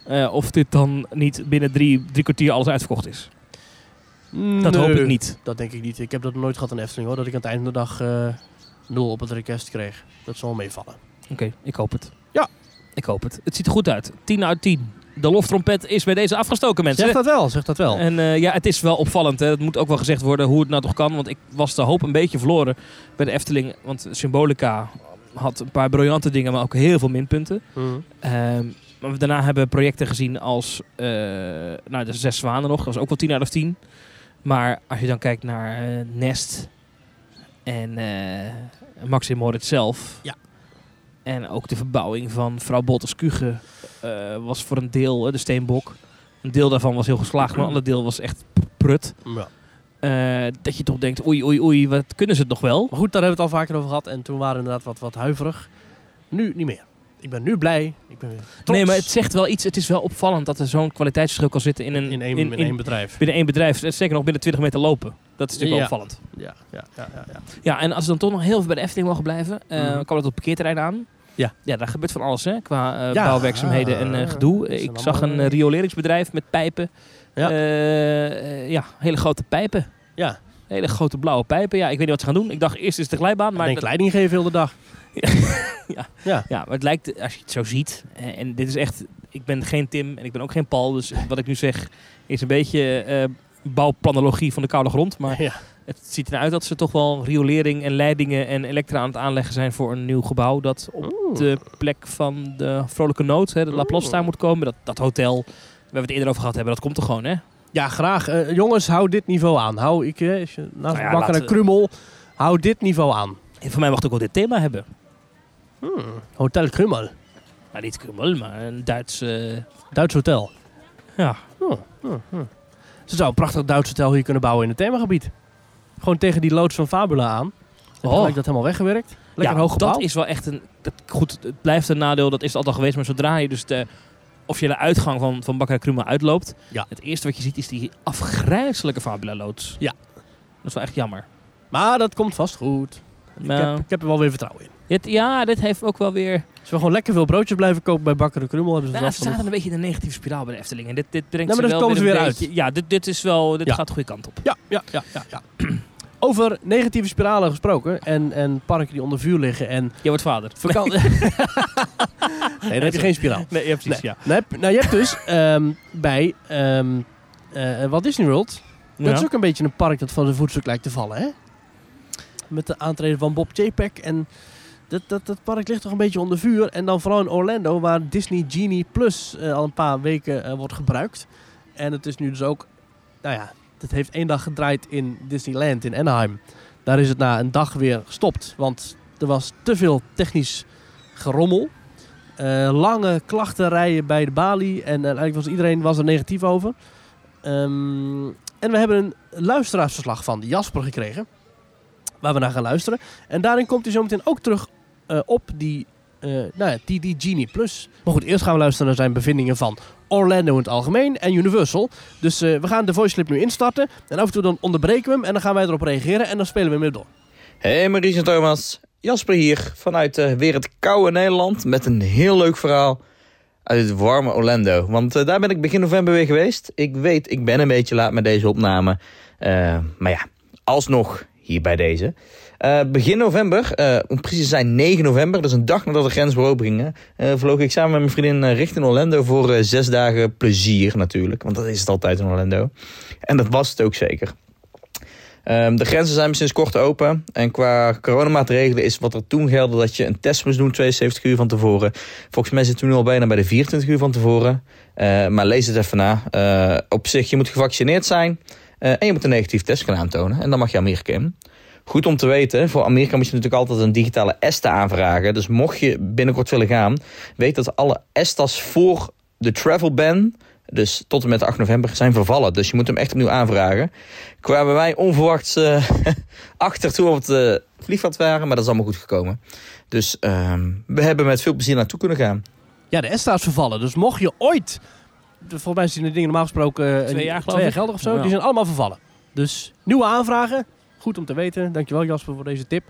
eh, of dit dan niet binnen drie, drie kwartier alles uitverkocht is. Dat hoop
nee.
ik niet.
Dat denk ik niet. Ik heb dat nooit gehad in de Efteling hoor. Dat ik aan het einde van de dag eh, nul op het request kreeg. Dat zal wel meevallen.
Oké, ik hoop het.
Ja.
Ik hoop het. Het ziet er goed uit. 10 uit 10. De loftrompet is bij deze afgestoken, mensen.
Zeg dat wel, zeg dat wel.
En eh, ja, het is wel opvallend. Hè. Dat moet ook wel gezegd worden hoe het nou toch kan. Want ik was de hoop een beetje verloren bij de Efteling. Want Symbolica had een paar briljante dingen, maar ook heel veel minpunten.
Mhm.
Ehm, maar we daarna hebben we projecten gezien als eh, nou, de Zes Zwanen nog. Dat was ook wel 10 uit of 10. Maar als je dan kijkt naar eh, Nest en eh Max en Moritz zelf.
Ja.
En ook de verbouwing van vrouw Botters Kuge eh, was voor een deel, eh, de steenbok. Een deel daarvan was heel geslaagd, maar een ander deel was echt prut.
Ja.
Eh, dat je toch denkt, oei, oei, oei, wat kunnen ze het nog wel?
Maar goed, daar hebben we het al vaker over gehad. En toen waren we inderdaad wat, wat huiverig. Nu niet meer. Ik ben nu blij. Ik ben weer trots
Nee, maar het zegt wel iets. Het is wel opvallend dat er zo'n kwaliteitsverschil kan zitten in een,
in, één, in, één bedrijf.
binnen één bedrijf. eh, Zeker nog binnen 20 meter lopen. Dat is natuurlijk
Ja.
wel opvallend.
Ja, ja, ja, ja, ja.
Ja, en als we dan toch nog heel even bij de Efteling mogen blijven. eh
Mhm.
kwam het op het parkeerterrein aan.
Ja.
Ja, daar gebeurt van alles, hè. Qua eh,
Ja.
bouwwerkzaamheden en eh, gedoe.
Dat zijn
Ik zag een
allemaal-
eh, rioleringsbedrijf met pijpen.
Ja.
Eh, eh, ja, hele grote pijpen.
Ja.
Hele grote blauwe pijpen. Ja, ik weet niet wat ze gaan doen. Ik dacht eerst is het de glijbaan.
Maar
Maar
ik denk
dat-
leiding geven heel de dag.
Ja, maar het lijkt, als je het zo ziet, eh, en dit is echt, ik ben geen Tim en ik ben ook geen Paul, dus wat ik nu zeg is een beetje eh bouwplanologie van de koude grond. Maar
Ja.
het ziet eruit dat ze toch wel riolering en leidingen en elektra aan het aanleggen zijn voor een nieuw gebouw dat op de plek van de Vrolijke Nood, hè, de La Plata, moet komen. Dat, dat hotel, waar we het eerder over gehad hebben, dat komt er gewoon, hè?
Ja, graag. Eh, jongens, hou dit niveau aan. Hou ik, eh, als je naast
Nou ja,
bakker en
laten we-
krummel, hou dit niveau aan.
En voor mij mag het ook wel dit thema hebben.
Hotel Krummel.
Nou, niet Kummel, maar een Duits... eh,
Duits hotel.
ja.
Ze zou een prachtig Duits hotel hier kunnen bouwen in het themagebied. Gewoon tegen die loods van Fabula aan. Dan
Oh.
heb ik dat helemaal weggewerkt. Lekker een hoog gebouw.
Dat is wel echt een. Dat, goed, het blijft een nadeel, dat is het altijd al geweest. Maar zodra je dus de officiële uitgang van, van Bakka Kruma uitloopt.
Ja.
Het eerste wat je ziet is die afgrijzelijke Fabula loods.
Ja.
Dat is wel echt jammer.
Maar dat komt vast goed. Ik,
Nou,
heb, ik heb er wel weer vertrouwen in.
dit- ja, dit heeft ook wel weer.
Als we gewoon lekker veel broodjes blijven kopen bij Bakker de Krummel, hebben ze
Nou,
het
ze
wel
zaten
genoeg.
een beetje in een negatieve spiraal bij de Efteling. En dit, dit brengt
Nee, maar dan
ze wel
komen
weer
ze
een
weer
beetje- Ja, dit, dit, is wel, dit
Ja.
gaat de goede kant op.
Ja, ja, ja, ja, ja. Over negatieve spiralen gesproken en, en parken die onder vuur liggen
[laughs]
en...
Je wordt vader.
Nee, dan heb je geen spiraal.
[laughs] nee, ja, precies. Ja.
Nee, heb- nou, je hebt dus [laughs] ehm, bij ehm eh, Walt Disney World... Dat is ook een beetje een park dat van de voetstuk lijkt te vallen, hè? Met de aantreden van Bob Chapek en... Dat, dat, dat park ligt toch een beetje onder vuur. En dan vooral in Orlando, waar Disney Genie Plus eh, al een paar weken eh, wordt gebruikt. En het is nu dus ook... Nou ja, het heeft één dag gedraaid in Disneyland in Anaheim. Daar is het na een dag weer gestopt. Want er was te veel technisch gerommel. Eh, lange klachtenrijen bij de balie. En eh, eigenlijk was iedereen was er negatief over. Ehm, en we hebben een luisteraarsverslag van Jasper gekregen. Waar we naar gaan luisteren. En daarin komt hij zometeen ook terug eh, op die, eh nou ja, die, die Genie Plus. Maar goed, eerst gaan we luisteren naar zijn bevindingen van Orlando in het algemeen en Universal. Dus eh, we gaan de voice clip nu instarten. En af en toe dan onderbreken we hem en dan gaan wij erop reageren. En dan spelen we hem weer door.
Hey Maries en Thomas, Jasper hier vanuit eh, weer het koude Nederland met een heel leuk verhaal uit het warme Orlando. Want eh, daar ben ik begin november weer geweest. Ik weet, ik ben een beetje laat met deze opname. Eh, maar ja, alsnog hier bij deze. Eh, begin november, eh, om precies te zijn 9 november, dus een dag nadat de grens weer opengingen, eh, vloog ik samen met mijn vriendin eh, richting Orlando voor eh, zes dagen plezier natuurlijk. Want dat is het altijd in Orlando. En dat was het ook zeker. Ehm, de grenzen zijn sinds kort open. En qua coronamaatregelen is wat er toen geldde dat je een test moest doen 72 uur van tevoren. Volgens mij zitten we nu al bijna bij de 24 uur van tevoren. Eh, maar lees het even na. Eh, op zich, je moet gevaccineerd zijn. eh, en je moet een negatief test kunnen aantonen. En dan mag je Amerika in. Goed om te weten, voor Amerika moet je natuurlijk altijd een digitale ESTA aanvragen. Dus mocht je binnenkort willen gaan, weet dat alle ESTA's voor de travel ban, dus tot en met 8 november, zijn vervallen. Dus je moet hem echt opnieuw aanvragen kwamen wij onverwachts eh, [laughs] achter toen we op het eh, vliegveld waren. Maar dat is allemaal goed gekomen. Dus ehm, we hebben met veel plezier naartoe kunnen gaan.
Ja, de ESTA is vervallen. Dus mocht je ooit... Volgens mij zijn de dingen normaal gesproken... eh,
Twee jaar, geloof
twee
ik.
geldig of zo.
Ja.
Die zijn allemaal vervallen. Dus nieuwe aanvragen. Goed om te weten. Dankjewel Jasper voor deze tip.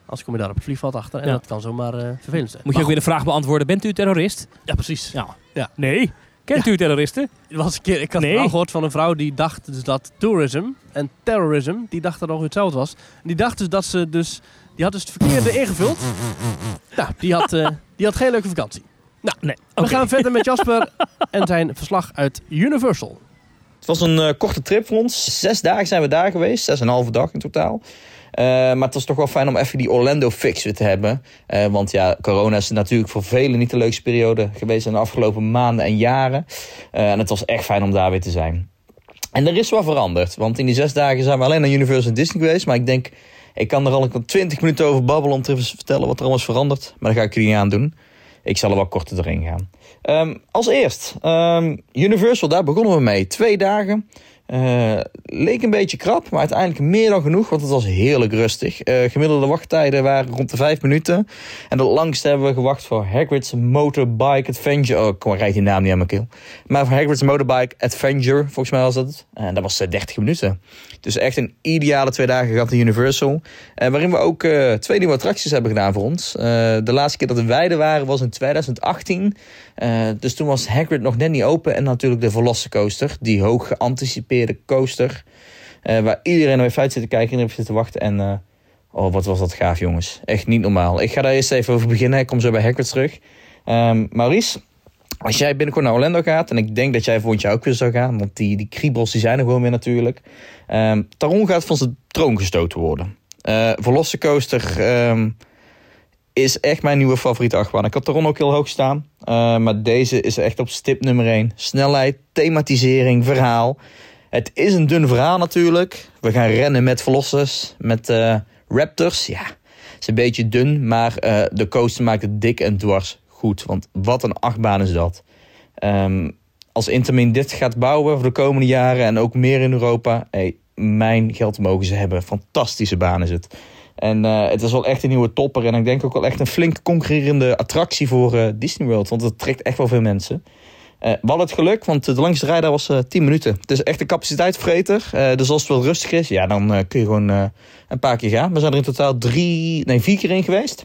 Anders kom je daar op het vliegveld achter. En
Ja.
dat kan zomaar eh, vervelend zijn.
Moet je ook weer de vraag beantwoorden: bent u terrorist?
Ja, precies.
Ja.
Ja.
Nee. Kent u terroristen?
Er was een keer, ik had
Nee.
een verhaal gehoord van een vrouw die dacht dus dat tourism en terrorism, die dacht dat het nog hetzelfde was. En die dacht dus dat ze dus, die had dus het verkeerde ingevuld. Nou, die had, eh, die had geen leuke vakantie. Nou,
Nee.
We gaan verder met Jasper en zijn verslag uit Universal.
Het was een eh, korte trip voor ons. Zes dagen zijn we daar geweest. Zes en een halve dag in totaal. Eh, maar het was toch wel fijn om even die Orlando fix weer te hebben. Eh, want ja, corona is natuurlijk voor velen niet de leukste periode geweest in de afgelopen maanden en jaren. Eh, en het was echt fijn om daar weer te zijn. En er is wat veranderd. Want in die zes dagen zijn we alleen naar Universal en Disney geweest. Maar ik denk, ik kan er al een 20 minuten over babbelen om te vertellen wat er allemaal is veranderd. Maar dat ga ik jullie niet aan doen. Ik zal er wel korter doorheen gaan. Ehm, als eerst, ehm, Universal, daar begonnen we mee. Twee dagen. Eh, leek een beetje krap, maar uiteindelijk meer dan genoeg, want het was heerlijk rustig. Eh, gemiddelde wachttijden waren rond de vijf minuten. En het langste hebben we gewacht voor Hagrid's Motorbike Adventure. Oh, kom, rijdt die naam niet aan mijn keel. Maar voor Hagrid's Motorbike Adventure, volgens mij was dat het. En dat was eh, 30 minuten. Dus echt een ideale twee dagen gehad in Universal. Eh, waarin we ook eh, twee nieuwe attracties hebben gedaan voor ons. Eh, de laatste keer dat wij er waren was in 2018. Eh, dus toen was Hagrid nog net niet open. En natuurlijk de Velocicoaster, die hoog geanticipeerde coaster. eh, waar iedereen naar heeft uit zit te kijken en heeft zitten wachten. En eh, oh, wat was dat gaaf, jongens. Echt niet normaal. Ik ga daar eerst even over beginnen. Ik kom zo bij Hagrid terug. Ehm, Maurice, als jij binnenkort naar Orlando gaat... en ik denk dat jij volgend jaar ook weer zou gaan... want die, die kriebels die zijn er gewoon weer natuurlijk. Ehm, Taron gaat van zijn troon gestoten worden. Eh Velocicoaster... ehm, is echt mijn nieuwe favoriete achtbaan. Ik had Taron ook heel hoog staan. eh, maar deze is echt op stip nummer 1. Snelheid, thematisering, verhaal. Het is een dun verhaal natuurlijk. We gaan rennen met Velocis, met eh, Raptors. Ja, het is een beetje dun. Maar eh, de coaster maakt het dik en dwars goed. Want wat een achtbaan is dat. Ehm, als Intermin dit gaat bouwen voor de komende jaren en ook meer in Europa. Hey, mijn geld mogen ze hebben. Fantastische baan is het. En eh, het is wel echt een nieuwe topper. En ik denk ook wel echt een flink concurrerende attractie voor eh, Disney World. Want dat trekt echt wel veel mensen. Eh we hadden het geluk, want de langste rij daar was eh 10 minuten. Het is echt een capaciteitsvreter. Eh, dus als het wel rustig is, ja, dan eh, kun je gewoon eh, een paar keer gaan. We zijn er in totaal drie, nee, vier keer in geweest.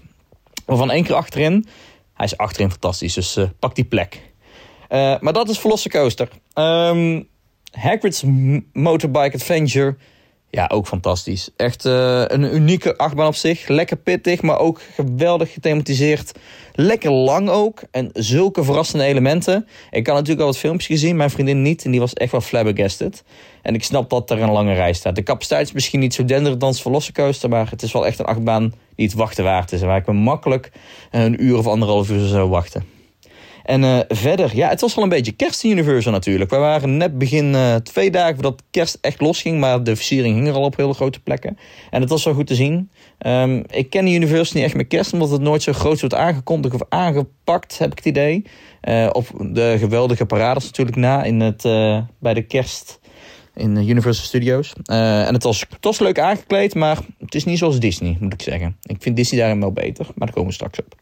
Waarvan één keer achterin. Hij is achterin fantastisch, dus eh, pak die plek. Eh, maar dat is Velocicoaster. Ehm Hagrid's M- Motorbike Adventure. Ja, ook fantastisch. Echt eh, een unieke achtbaan op zich. Lekker pittig, maar ook geweldig gethematiseerd. Lekker lang ook. En zulke verrassende elementen. Ik had natuurlijk al wat filmpjes gezien, mijn vriendin niet. En die was echt wel flabbergasted. En ik snap dat er een lange rij staat. De capaciteit is misschien niet zo denderend dan Velocicoaster. Maar het is wel echt een achtbaan die het wachten waard is. En waar ik me makkelijk een uur of anderhalf uur zou wachten. En eh, verder, ja, het was al een beetje kerst in Universal natuurlijk. We waren net begin eh, twee dagen voordat kerst echt losging. Maar de versiering hing er al op hele grote plekken. En het was wel goed te zien. Ehm, ik ken de Universal niet echt met kerst, omdat het nooit zo groot wordt aangekondigd of aangepakt, heb ik het idee. Eh, op de geweldige parades natuurlijk na in het, eh, bij de kerst in eh, Universal Studios. Eh, en het was, het was leuk aangekleed, maar het is niet zoals Disney, moet ik zeggen. Ik vind Disney daarin wel beter, maar daar komen we straks op.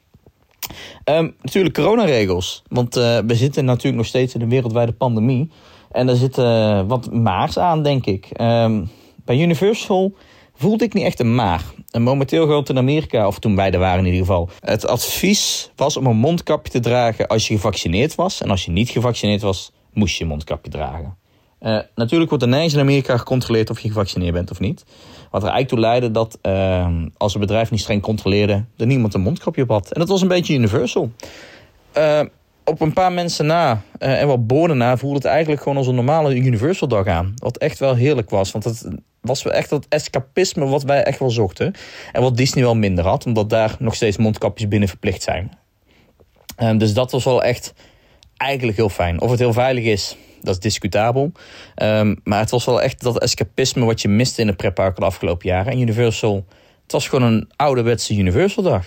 Ehm, natuurlijk coronaregels. Want eh, we zitten natuurlijk nog steeds in een wereldwijde pandemie. En daar zit eh, wat maars aan, denk ik. Ehm, bij Universal voelde ik niet echt een maar. En momenteel geldt in Amerika, of toen wij er waren in ieder geval... het advies was om een mondkapje te dragen als je gevaccineerd was. En als je niet gevaccineerd was, moest je een mondkapje dragen. Eh, natuurlijk wordt er nergens in Amerika gecontroleerd of je gevaccineerd bent of niet. Wat er eigenlijk toe leidde dat ehm, als een bedrijf niet streng controleerde, er niemand een mondkapje op had. En dat was een beetje universal. Eh, op een paar mensen na eh, en wat boorden na voelde het eigenlijk gewoon als een normale universal dag aan. Wat echt wel heerlijk was. Want het was wel echt dat escapisme wat wij echt wel zochten. En wat Disney wel minder had, omdat daar nog steeds mondkapjes binnen verplicht zijn. Ehm, dus dat was wel echt eigenlijk heel fijn. Of het heel veilig is, dat is discutabel. Ehm, maar het was wel echt dat escapisme wat je miste in de pretparken de afgelopen jaren. En Universal, het was gewoon een ouderwetse Universal dag.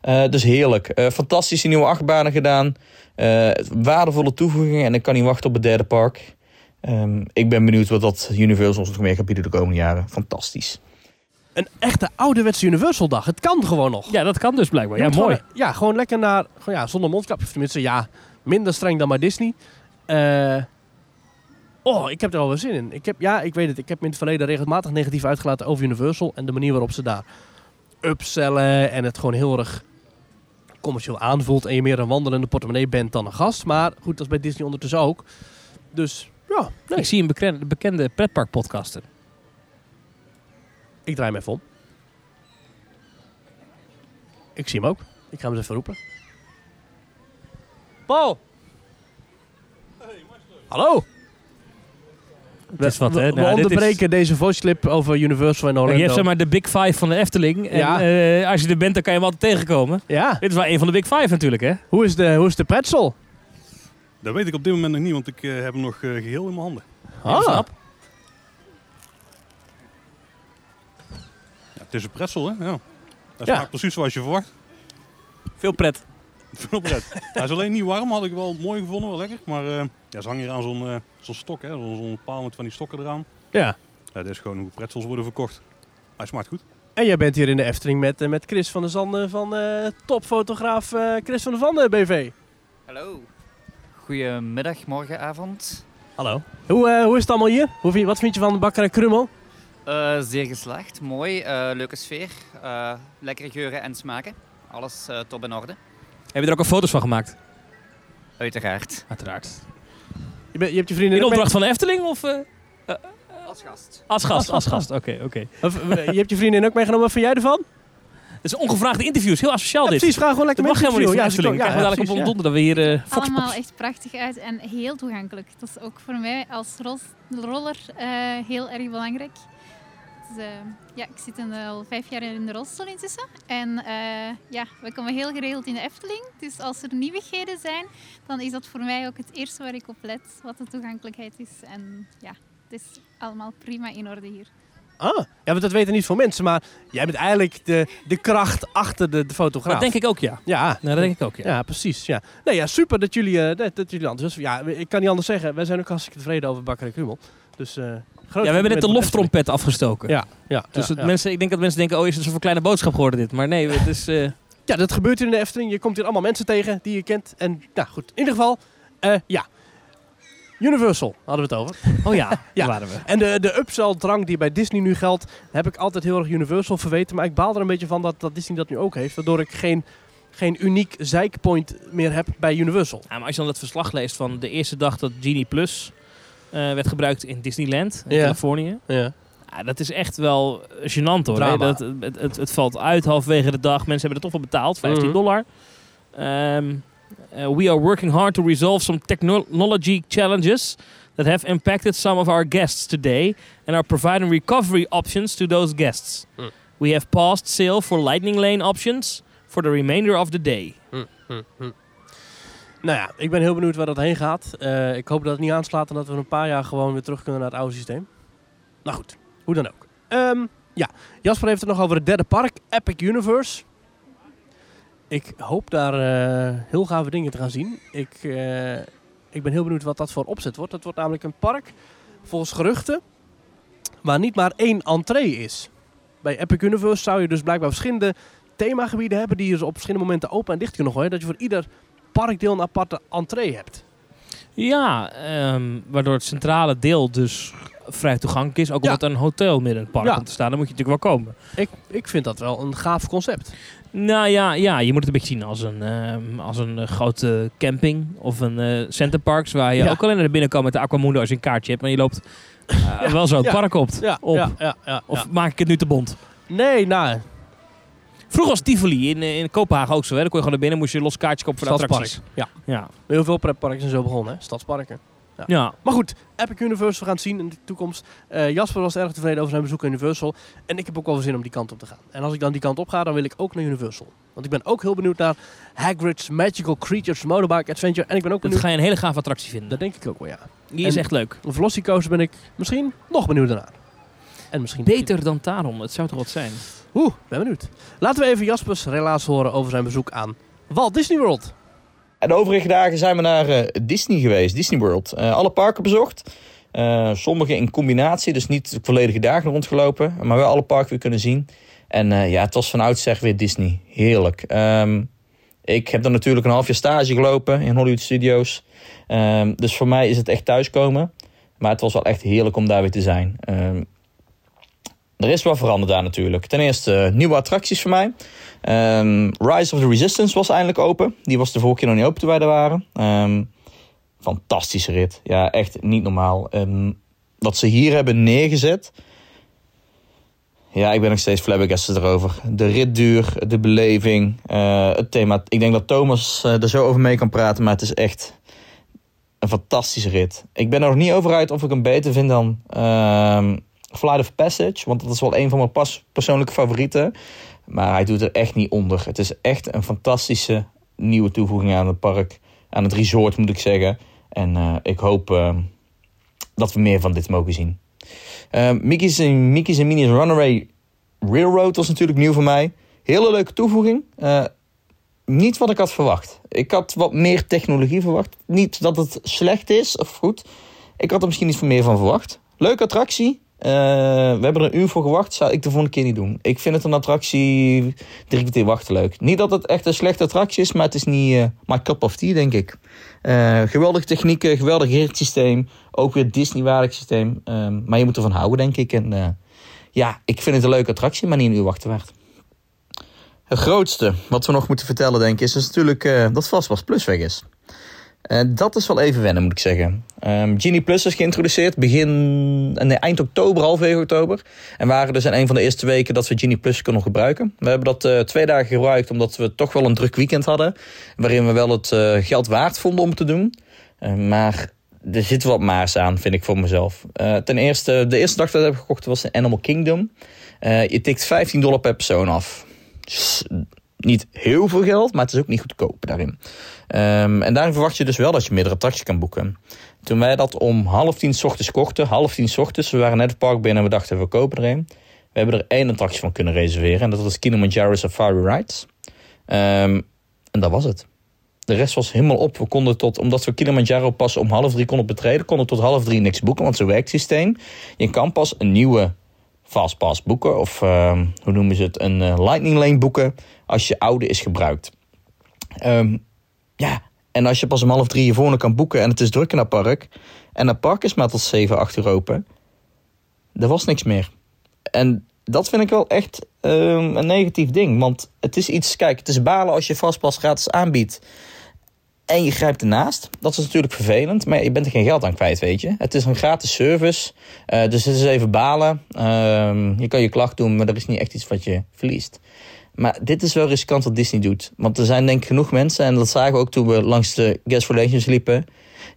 Eh, dus heerlijk. Eh, fantastische nieuwe achtbanen gedaan. Eh, waardevolle toevoegingen. En ik kan niet wachten op het derde park. Ehm, ik ben benieuwd wat dat Universal ons nog meer gaat bieden de komende jaren. Fantastisch.
Een echte ouderwetse Universal dag. Het kan gewoon nog.
Ja, dat kan dus blijkbaar.
Je
Ja,
moet
mooi.
gewoon- ja, gewoon lekker naar... Gewoon, ja, zonder mondkapje. Of Tenminste, ja, minder streng dan bij Disney. Eh, oh, ik heb er al wel zin in. Ik heb, ja, ik weet het. Ik heb me in het verleden regelmatig negatief uitgelaten over Universal. En de manier waarop ze daar upsellen. En het gewoon heel erg commercieel aanvoelt. En je meer een wandelende portemonnee bent dan een gast. Maar goed, dat is bij Disney ondertussen ook. Dus ja, nee.
Ik zie een bekende, bekende pretparkpodcaster.
Ik draai hem even om. Ik zie hem ook. Ik ga hem eens even roepen. Paul! Hallo!
Het is wat, hè?
We, we
Nou, dit is-
onderbreken deze voice clip over Universal en
Je
Orlando.
hebt zeg maar de Big Five van de Efteling. En
Ja.
eh, als je er bent, dan kan je hem altijd tegenkomen.
Ja,
Dit is wel een van de Big Five natuurlijk, hè?
hoe is de, hoe is de pretzel?
Dat weet ik op dit moment nog niet, want ik eh, heb hem nog eh, geheel in mijn handen.
Ah.
snap.
Ja, het is een pretzel, hè? Ja. Dat
Ja.
smaakt precies zoals je verwacht.
Veel pret.
[laughs] Veel pret. Hij is alleen niet warm, had ik wel mooi gevonden, wel lekker. Maar eh, ja, ze hangen hier aan zo'n eh, zo'n stok, hè? Zo'n zo'n paal met van die stokken eraan.
Ja.
Ja, dit is gewoon hoe pretzels worden verkocht. Hij smaakt goed.
En jij bent hier in de Efteling met, eh, met Chris van der Zanden van eh, topfotograaf eh, Chris van der Zanden BV.
Hallo. Goedemiddag, morgenavond.
Hallo. Hoe, eh, hoe is het allemaal hier? Hoe vind je, wat vind je van de bakker en krummel?
Eh, zeer geslaagd, mooi, eh, leuke sfeer, eh, lekkere geuren en smaken. Alles eh, top in orde,
Heb je er ook al foto's van gemaakt?
uiteraard.
Uiteraard.
Je, bent- je hebt je vrienden
In
ook mee-
opdracht van de Efteling of eh,
Als gast.
als gast? Als gast, oké, oké.
Of, eh, je hebt je vrienden ook meegenomen. Wat vind jij ervan?
Het is ongevraagde interviews, heel asociaal
Ja,
dit.
precies, vraag gewoon lekker
Dat mag
mensen
helemaal niet van de
interviewen.
Efteling.
Ja, ja,
Krijgen we dadelijk op
precies,
een donder dat we hier eh, Fox
allemaal
Pops-
echt prachtig uit en heel toegankelijk. Dat is ook voor mij als ros- roller eh, heel erg belangrijk. Dus, eh, ja, ik zit een, al vijf jaar in de rolstoel intussen. En eh, ja, we komen heel geregeld in de Efteling. Dus als er nieuwigheden zijn, dan is dat voor mij ook het eerste waar ik op let. Wat de toegankelijkheid is. En ja, het is allemaal prima in orde hier.
ja. Ah, ja, want dat weten niet veel mensen, maar jij bent eigenlijk de, de kracht achter de, de fotograaf.
Dat denk ik ook, ja.
Ja.
Nou, dat denk ik ook, ja.
Ja, precies. Ja. Nee, ja, super dat jullie, eh dat, dat jullie enthousiast zijn. Ja, ik kan niet anders zeggen. Wij zijn ook hartstikke tevreden over Bakker en Krummel. Dus, eh, groot
Ja, we hebben net
compliment
de
voor Efteling.
loftrompet afgestoken.
Ja, ja,
Dus
ja,
het
ja.
Mensen, ik denk dat mensen denken, oh is het een kleine boodschap geworden dit. Maar nee, het is... eh,
Ja, dat gebeurt hier in de Efteling. Je komt hier allemaal mensen tegen die je kent. En nou goed, in ieder geval, eh, ja. Universal [laughs] hadden we het over.
Oh
[laughs]
ja,
Ja.
daar waren we.
En de, de upsell-drang die bij Disney nu geldt, heb ik altijd heel erg Universal verweten. Maar ik baal er een beetje van dat, dat Disney dat nu ook heeft. Waardoor ik geen, geen uniek zeikpoint meer heb bij Universal.
Ja, maar als je dan dat verslag leest van de eerste dag dat Genie Plus eh, werd gebruikt in Disneyland, in
Ja.
Californië.
Ja.
Ja, Ah, dat is echt wel eh, gênant hoor.
Drama.
Dat, het, het, het valt uit halverwege de dag. Mensen hebben er toch wel betaald, 15
Mhm.
dollar. Ehm, eh, we are working hard to resolve some technology challenges that have impacted some of our guests today and are providing recovery options to those guests.
Mm.
We have paused sale for lightning lane options for the remainder of the day.
Nou ja, ik ben heel benieuwd waar dat heen gaat. Eh, ik hoop dat het niet aanslaat en dat we een paar jaar gewoon weer terug kunnen naar het oude systeem. Nou goed, hoe dan ook. Ehm, ja, Jasper heeft het nog over het derde park, Epic Universe. Ik hoop daar eh, heel gave dingen te gaan zien. Ik, eh, ik ben heel benieuwd wat dat voor opzet wordt. Dat wordt namelijk een park, volgens geruchten, waar niet maar één entree is. Bij Epic Universe zou je dus blijkbaar verschillende themagebieden hebben die je dus op verschillende momenten open en dicht kunnen gooien. Dat je voor ieder parkdeel een aparte entree hebt.
Ja, ehm, waardoor het centrale deel dus vrij toegankelijk is. Ook
Ja.
omdat er een hotel midden in het park
Ja.
komt te staan. Dan moet je natuurlijk wel komen.
Ik, ik vind dat wel een gaaf concept.
Nou ja, ja je moet het een beetje zien als een, ehm, als een eh, grote camping of een eh centerparks. Waar je
Ja.
ook alleen naar binnen kan met de Aquamundo als je een kaartje hebt. Maar je loopt eh, wel zo het
ja.
park op. op.
ja, ja, ja.
Of maak ik het nu te bond?
Nee, nou,
Vroeger was Tivoli in, eh, in Kopenhagen ook zo. Hè? Dan kon je gewoon naar binnen, moest je een los kaartje kopen voor de attracties.
stadspark. Ja,
Ja.
heel veel pretparken zijn zo begonnen, hè? stadsparken.
ja,
Maar goed, Epic Universe, we gaan het zien in de toekomst. Eh, Jasper was erg tevreden over zijn bezoek aan Universal. En ik heb ook wel zin om die kant op te gaan. En als ik dan die kant op ga, dan wil ik ook naar Universal. Want ik ben ook heel benieuwd naar Hagrid's Magical Creatures Motorbike Adventure. En ik ben ook
dat
benieuwd...
ga je een hele gave attractie vinden.
Dat denk ik ook wel, ja.
Die is
En-
echt leuk.
Een Velocicoaster ben ik misschien nog benieuwder naar. En misschien...
Beter dan Taron, het zou toch wat zijn?
Oeh, ben benieuwd. Laten we even Jaspers relaas horen over zijn bezoek aan Walt Disney World.
En de overige dagen zijn we naar eh, Disney geweest, Disney World. Eh, alle parken bezocht. Eh, sommige in combinatie, dus niet de volledige dagen rondgelopen. Maar wel alle parken weer kunnen zien. En eh, ja, het was van oudsher weer Disney. Heerlijk. Ehm, ik heb dan natuurlijk een half jaar stage gelopen in Hollywood Studios. Ehm, dus voor mij is het echt thuiskomen. Maar het was wel echt heerlijk om daar weer te zijn. Ehm, er is wat veranderd daar natuurlijk. Ten eerste eh, nieuwe attracties voor mij. Ehm, Rise of the Resistance was eindelijk open. Die was de vorige keer nog niet open toen wij daar waren. Ehm, fantastische rit. Ja, echt niet normaal. Ehm, wat ze hier hebben neergezet. Ja, ik ben nog steeds flabbergasted erover. De ritduur, de beleving, eh, het thema. Ik denk dat Thomas eh, er zo over mee kan praten, maar het is echt een fantastische rit. Ik ben er nog niet over uit of ik hem beter vind dan ehm, Flight of Passage, want dat is wel een van mijn pas persoonlijke favorieten. Maar hij doet er echt niet onder. Het is echt een fantastische nieuwe toevoeging aan het park. Aan het resort moet ik zeggen. En eh, ik hoop eh, dat we meer van dit mogen zien. Eh, Mickey's, en, Mickey's en Minnie's Runaway Railroad was natuurlijk nieuw voor mij. Hele leuke toevoeging. Eh, niet wat ik had verwacht. Ik had wat meer technologie verwacht. Niet dat het slecht is of goed. Ik had er misschien iets meer van verwacht. Leuke attractie. Eh, we hebben er een uur voor gewacht. Zou ik de volgende keer niet doen. Ik vind het een attractie. Drie keer wachten leuk. Niet dat het echt een slechte attractie is. Maar het is niet eh my cup of tea, denk ik. Eh, geweldige technieken. Geweldig ritsysteem. Ook weer Disney-waardig systeem. Ehm, maar je moet ervan houden, denk ik. En eh, ja, ik vind het een leuke attractie. Maar niet een uur wachten waard. Het grootste wat we nog moeten vertellen, denk ik, is, is natuurlijk eh, dat Fastpass Plus weg is. Eh, dat is wel even wennen, moet ik zeggen. Ehm Genie Plus is geïntroduceerd begin, eh, nee, eind oktober, halfwege oktober. En waren dus in een van de eerste weken dat we Genie Plus konden gebruiken. We hebben dat eh, twee dagen gebruikt omdat we toch wel een druk weekend hadden. Waarin we wel het eh, geld waard vonden om het te doen. Eh, maar er zitten wat maars aan, vind ik voor mezelf. Eh, ten eerste, de eerste dag dat ik heb gekocht was in Animal Kingdom. Eh, je tikt 15 dollar per persoon af. Dus niet heel veel geld, maar het is ook niet goedkoop daarin. Ehm, en daarin verwacht je dus wel dat je meerdere attracties kan boeken. Toen wij dat om half tien 's ochtends kochten, half tien 's ochtends, we waren net het park binnen en we dachten we kopen er een. We hebben er één attractie van kunnen reserveren en dat was Kilimanjaro Safari Rides. Ehm, en dat was het. De rest was helemaal op. We konden tot, omdat we Kilimanjaro pas om half drie konden betreden, konden we tot half drie niks boeken, want zo werkt het systeem. Je kan pas een nieuwe fastpass boeken, of ehm, hoe noemen ze het, een eh, lightning lane boeken, als je oude is gebruikt. Ehm, ja, en als je pas om half drie je volgende kan boeken en het is druk in dat park, en dat park is maar tot zeven, acht uur open, er was niks meer. En dat vind ik wel echt ehm, een negatief ding, want het is iets, kijk, het is balen als je fastpass gratis aanbiedt. En je grijpt ernaast. Dat is natuurlijk vervelend, maar je bent er geen geld aan kwijt, weet je. Het is een gratis service, eh, dus het is even balen. Ehm, je kan je klacht doen, maar er is niet echt iets wat je verliest. Maar dit is wel riskant wat Disney doet. Want er zijn denk ik genoeg mensen, en dat zagen we ook toen we langs de Guest Relations liepen,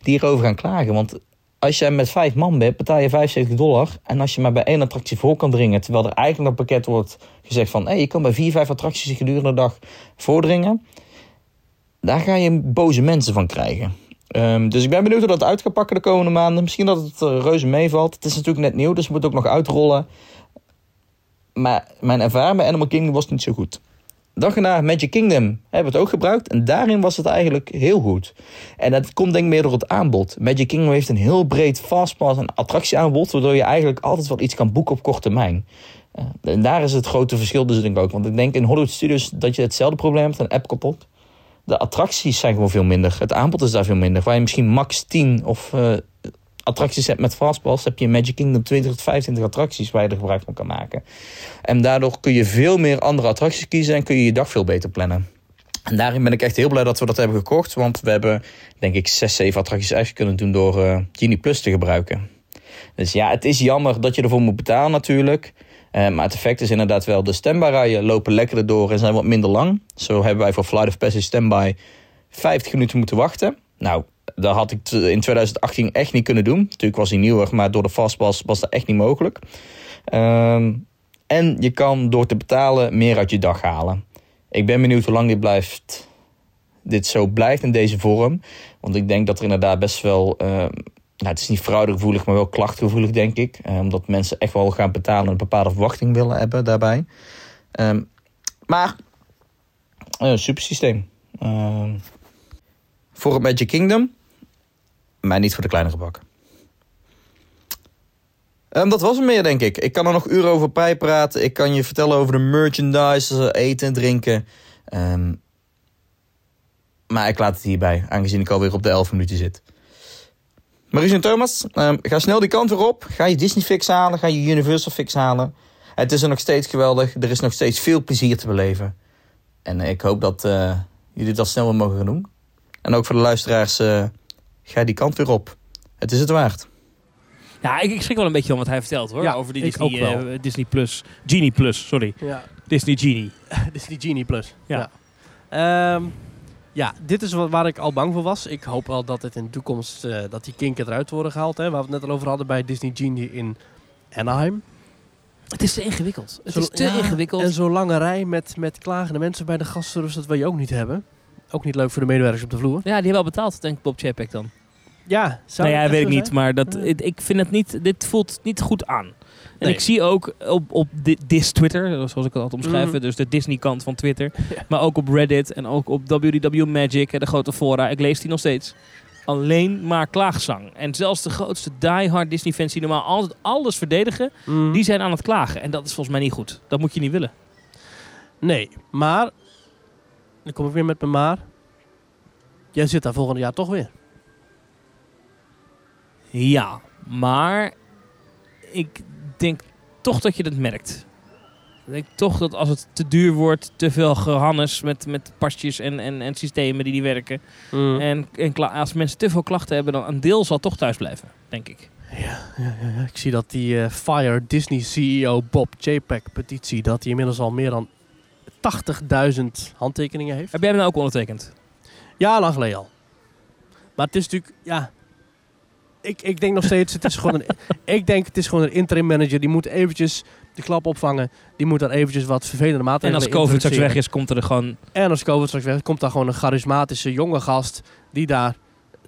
die hierover gaan klagen. Want als jij met vijf man bent, betaal je 75 dollar. En als je maar bij één attractie voor kan dringen, terwijl er eigenlijk een pakket wordt gezegd van, hé, je kan bij vier, vijf attracties gedurende de dag voordringen daar ga je boze mensen van krijgen. Ehm, dus ik ben benieuwd hoe dat uit gaat pakken de komende maanden. Misschien dat het eh, reuze meevalt. Het is natuurlijk net nieuw, dus het moet ook nog uitrollen. Maar mijn ervaring bij Animal Kingdom was niet zo goed. Dag erna Magic Kingdom hebben we het ook gebruikt. En daarin was het eigenlijk heel goed. En dat komt denk ik meer door het aanbod. Magic Kingdom heeft een heel breed fastpass en attractieaanbod. Waardoor je eigenlijk altijd wel iets kan boeken op korte termijn. Eh, en daar is het grote verschil dus denk ik ook. Want ik denk in Hollywood Studios dat je hetzelfde probleem hebt. Een app kapot de attracties zijn gewoon veel minder. Het aanbod is daar veel minder. Waar je misschien max 10 of eh, attracties hebt met Fastpass, heb je in Magic Kingdom 20 tot 25 attracties waar je er gebruik van kan maken. En daardoor kun je veel meer andere attracties kiezen en kun je je dag veel beter plannen. En daarin ben ik echt heel blij dat we dat hebben gekocht. Want we hebben, denk ik, 6, 7 attracties extra kunnen doen door eh Genie Plus te gebruiken. Dus ja, het is jammer dat je ervoor moet betalen natuurlijk. Eh, maar het effect is inderdaad wel, de standby-rijen lopen lekkerder door en zijn wat minder lang. Zo hebben wij voor Flight of Passage standby 50 minuten moeten wachten. Nou, dat had ik t- in 2018 echt niet kunnen doen. Natuurlijk was hij nieuwer, maar door de fastpass was dat echt niet mogelijk. Ehm, en je kan door te betalen meer uit je dag halen. Ik ben benieuwd hoe lang dit blijft. Dit zo blijft in deze vorm. Want ik denk dat er inderdaad best wel ehm, nou, het is niet fraudegevoelig, maar wel klachtgevoelig, denk ik. Eh, omdat mensen echt wel gaan betalen en een bepaalde verwachting willen hebben daarbij. Ehm, maar, eh supersysteem. Ehm, voor het Magic Kingdom, maar niet voor de kleinere bakken. Ehm, dat was hem meer, denk ik. Ik kan er nog uren over bijpraten. Ik kan je vertellen over de merchandise, eh, eten en drinken. Ehm, maar ik laat het hierbij, aangezien ik alweer op de 11 minuten zit. Maurice en Thomas, ehm, ga snel die kant weer op. Ga je Disney fix halen, ga je Universal fix halen. Het is er nog steeds geweldig. Er is nog steeds veel plezier te beleven. En eh, ik hoop dat eh, jullie dat snel weer mogen gaan doen. En ook voor de luisteraars, eh, ga die kant weer op. Het is het waard.
Ja, ik, ik schrik wel een beetje om wat hij vertelt hoor.
Ja,
over die
ik
Disney,
ook wel.
eh, Disney Plus. Genie Plus, sorry.
Ja.
Disney Genie.
[laughs] Dit is die Genie Plus.
Ja.
Ja, Ehm, ja dit is wat, waar ik al bang voor was. Ik hoop wel dat het in de toekomst, eh, dat die kinken eruit worden gehaald. Hè, waar we het net al over hadden bij Disney Genie in Anaheim.
Het is te ingewikkeld. Het
Zo-
is te
ja,
ingewikkeld.
En zo'n lange rij met, met klagende mensen bij de gastservice, dat wil je ook niet hebben. Ook niet leuk voor de medewerkers op de vloer.
Ja, die hebben wel betaald, denk ik, Bob Chapek dan.
Ja, zou
nee, Nou ja,
dat
weet
echt
ik
zo
niet, maar dat,
Ja.
ik ik vind het niet, dit voelt niet goed aan. En
Nee.
ik zie ook op, op di- Dis Twitter, zoals ik het had omschrijven,
Mhm.
dus de Disney-kant van Twitter.
[laughs] Ja.
Maar ook op Reddit en ook op WDW Magic en de grote fora. Ik lees die nog steeds. Alleen maar klaagzang. En zelfs de grootste diehard Disney-fans die normaal altijd alles verdedigen,
zijn? Mm.
die zijn aan het klagen. En dat is volgens mij niet goed. Dat moet je niet willen.
Nee, maar... Dan kom ik weer met mijn maar. Jij zit daar volgend jaar toch weer.
Ja, maar ik denk toch dat je dat merkt. Ik denk toch dat als het te duur wordt, te veel gehannes met, met pasjes en, en, en systemen die niet werken. En, en kla- als mensen te veel klachten hebben, dan een deel zal toch thuis blijven, denk ik.
Ja, ja, ja. Ik zie dat die eh, Fire Disney CEO Bob JPEG petitie, dat die inmiddels al meer dan 80.000 handtekeningen heeft.
Heb jij hem nou ook ondertekend?
Ja, lang geleden al. Maar het is natuurlijk, ja. Ik, ik denk nog steeds, het is
[laughs]
gewoon een, ik denk het is gewoon een interim manager. Die moet eventjes de klap opvangen. Die moet daar eventjes wat vervelende
En
maatregelen
als COVID straks
introduceren.
weg is, komt er gewoon...
En als COVID straks weg is, komt daar gewoon een charismatische jonge gast die daar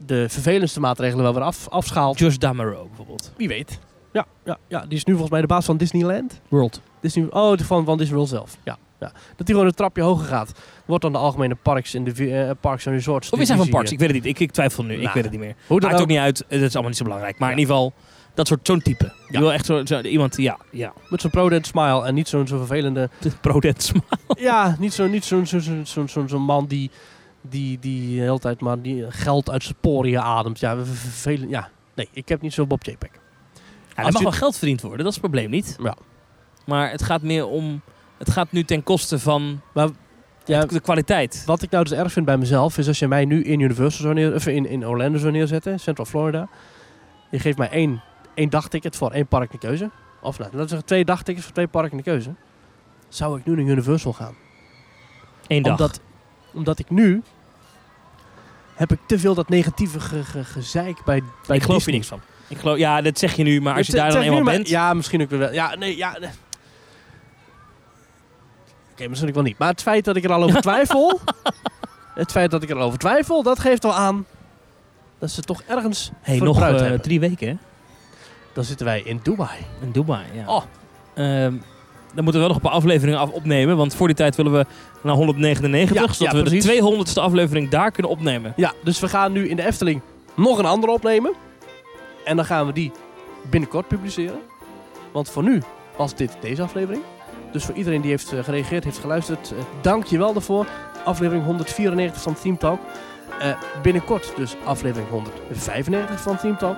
de vervelendste maatregelen wel weer af, afschaalt.
Josh Damaro bijvoorbeeld.
Wie weet. Ja, ja, ja, die is nu volgens mij de baas van Disneyland.
World.
Disney, oh, de- van, van Disney World zelf. Ja. Ja. Dat die gewoon een trapje hoger gaat. Wordt dan de algemene parks in de vi- eh, parks en resorts.
Of is hij van
divisie,
Parks?
eh.
Ik weet het niet. Ik, ik twijfel nu. Ik
Nou,
weet het niet meer.
Hoe dan
Maakt
ook.
ook niet uit. Dat is allemaal niet zo belangrijk. Maar in ieder geval, dat soort, zo'n type. Je wil echt zo, zo- iemand, ja, ja.
Met zo'n pro smile en niet zo'n zo
[laughs]
vervelende.
Prodets.
ja, niet zo'n niet zo'n zo'n zo'n zo'n zo'n zo'n man die, die, die de hele tijd maar die geld uit zijn poriën ademt. Ja, we- we- vervelend. Ja, nee, ik heb niet zo'n Bob J. Peck.
Ja,
Als
er mag
je-
wel geld verdiend worden, dat is het probleem niet.
Ja.
Maar het gaat meer om... Het gaat nu ten koste van
Ja,
de kwaliteit.
Wat ik nou dus erg vind bij mezelf is als je mij nu in Universal zou neer, of in, in Orlando zou neerzetten, Central Florida. Je geeft mij één, één dagticket voor één park in de keuze. Of nou, laten we zeggen twee dagtickets voor twee parken in de keuze. Zou ik nu naar Universal gaan?
Eén dag.
Omdat, omdat ik nu heb ik te veel dat negatieve ge- ge- gezeik bij, bij
ik
Disney.
geloof hier niks van. Ik geloof, ja, dat zeg je nu, maar als je
Het-
daar
het
dan
zegt nu
eenmaal
maar-
bent...
Ja, misschien ook weer wel. Ja, nee, ja. nee. Oké, misschien ook wel niet. Maar het feit dat ik er al
[laughs]
over twijfel... het feit dat ik er al over twijfel, dat geeft al aan... dat ze toch ergens
Hey,
voor
nog
bruid
eh,
hebben.
drie weken, hè?
Dan zitten wij in Dubai.
In Dubai, ja.
Oh.
Ehm, dan moeten we wel nog een paar afleveringen af opnemen. Want voor die tijd willen we naar 199.
Ja,
zodat
ja,
we
precies.
de 200ste aflevering daar kunnen opnemen.
Ja, dus we gaan nu in de Efteling nog een andere opnemen. En dan gaan we die binnenkort publiceren. Want voor nu was dit deze aflevering. Dus voor iedereen die heeft eh, gereageerd, heeft geluisterd, eh, dank je wel daarvoor. Aflevering 194 van Team Talk. Eh, binnenkort dus aflevering 195 van Team Talk.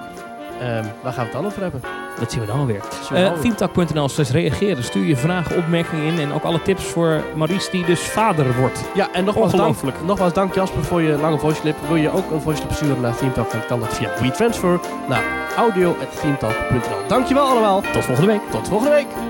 Ehm, waar gaan we het dan over hebben?
Dat zien we dan alweer.
Zullen we
Eh
alweer-
Teamtalk.nl slash reageren. Stuur je vragen, opmerkingen in. En ook alle tips voor Maurice die dus vader wordt.
ja, en nogmaals dank,
Ongelooflijk.
nogmaals dank Jasper voor je lange voice clip. Wil je ook een voice clip sturen naar Team Talk, dan kan dat via WeTransfer naar audio.teamtalk.nl. Dankjewel allemaal.
Tot volgende week.
Tot volgende week.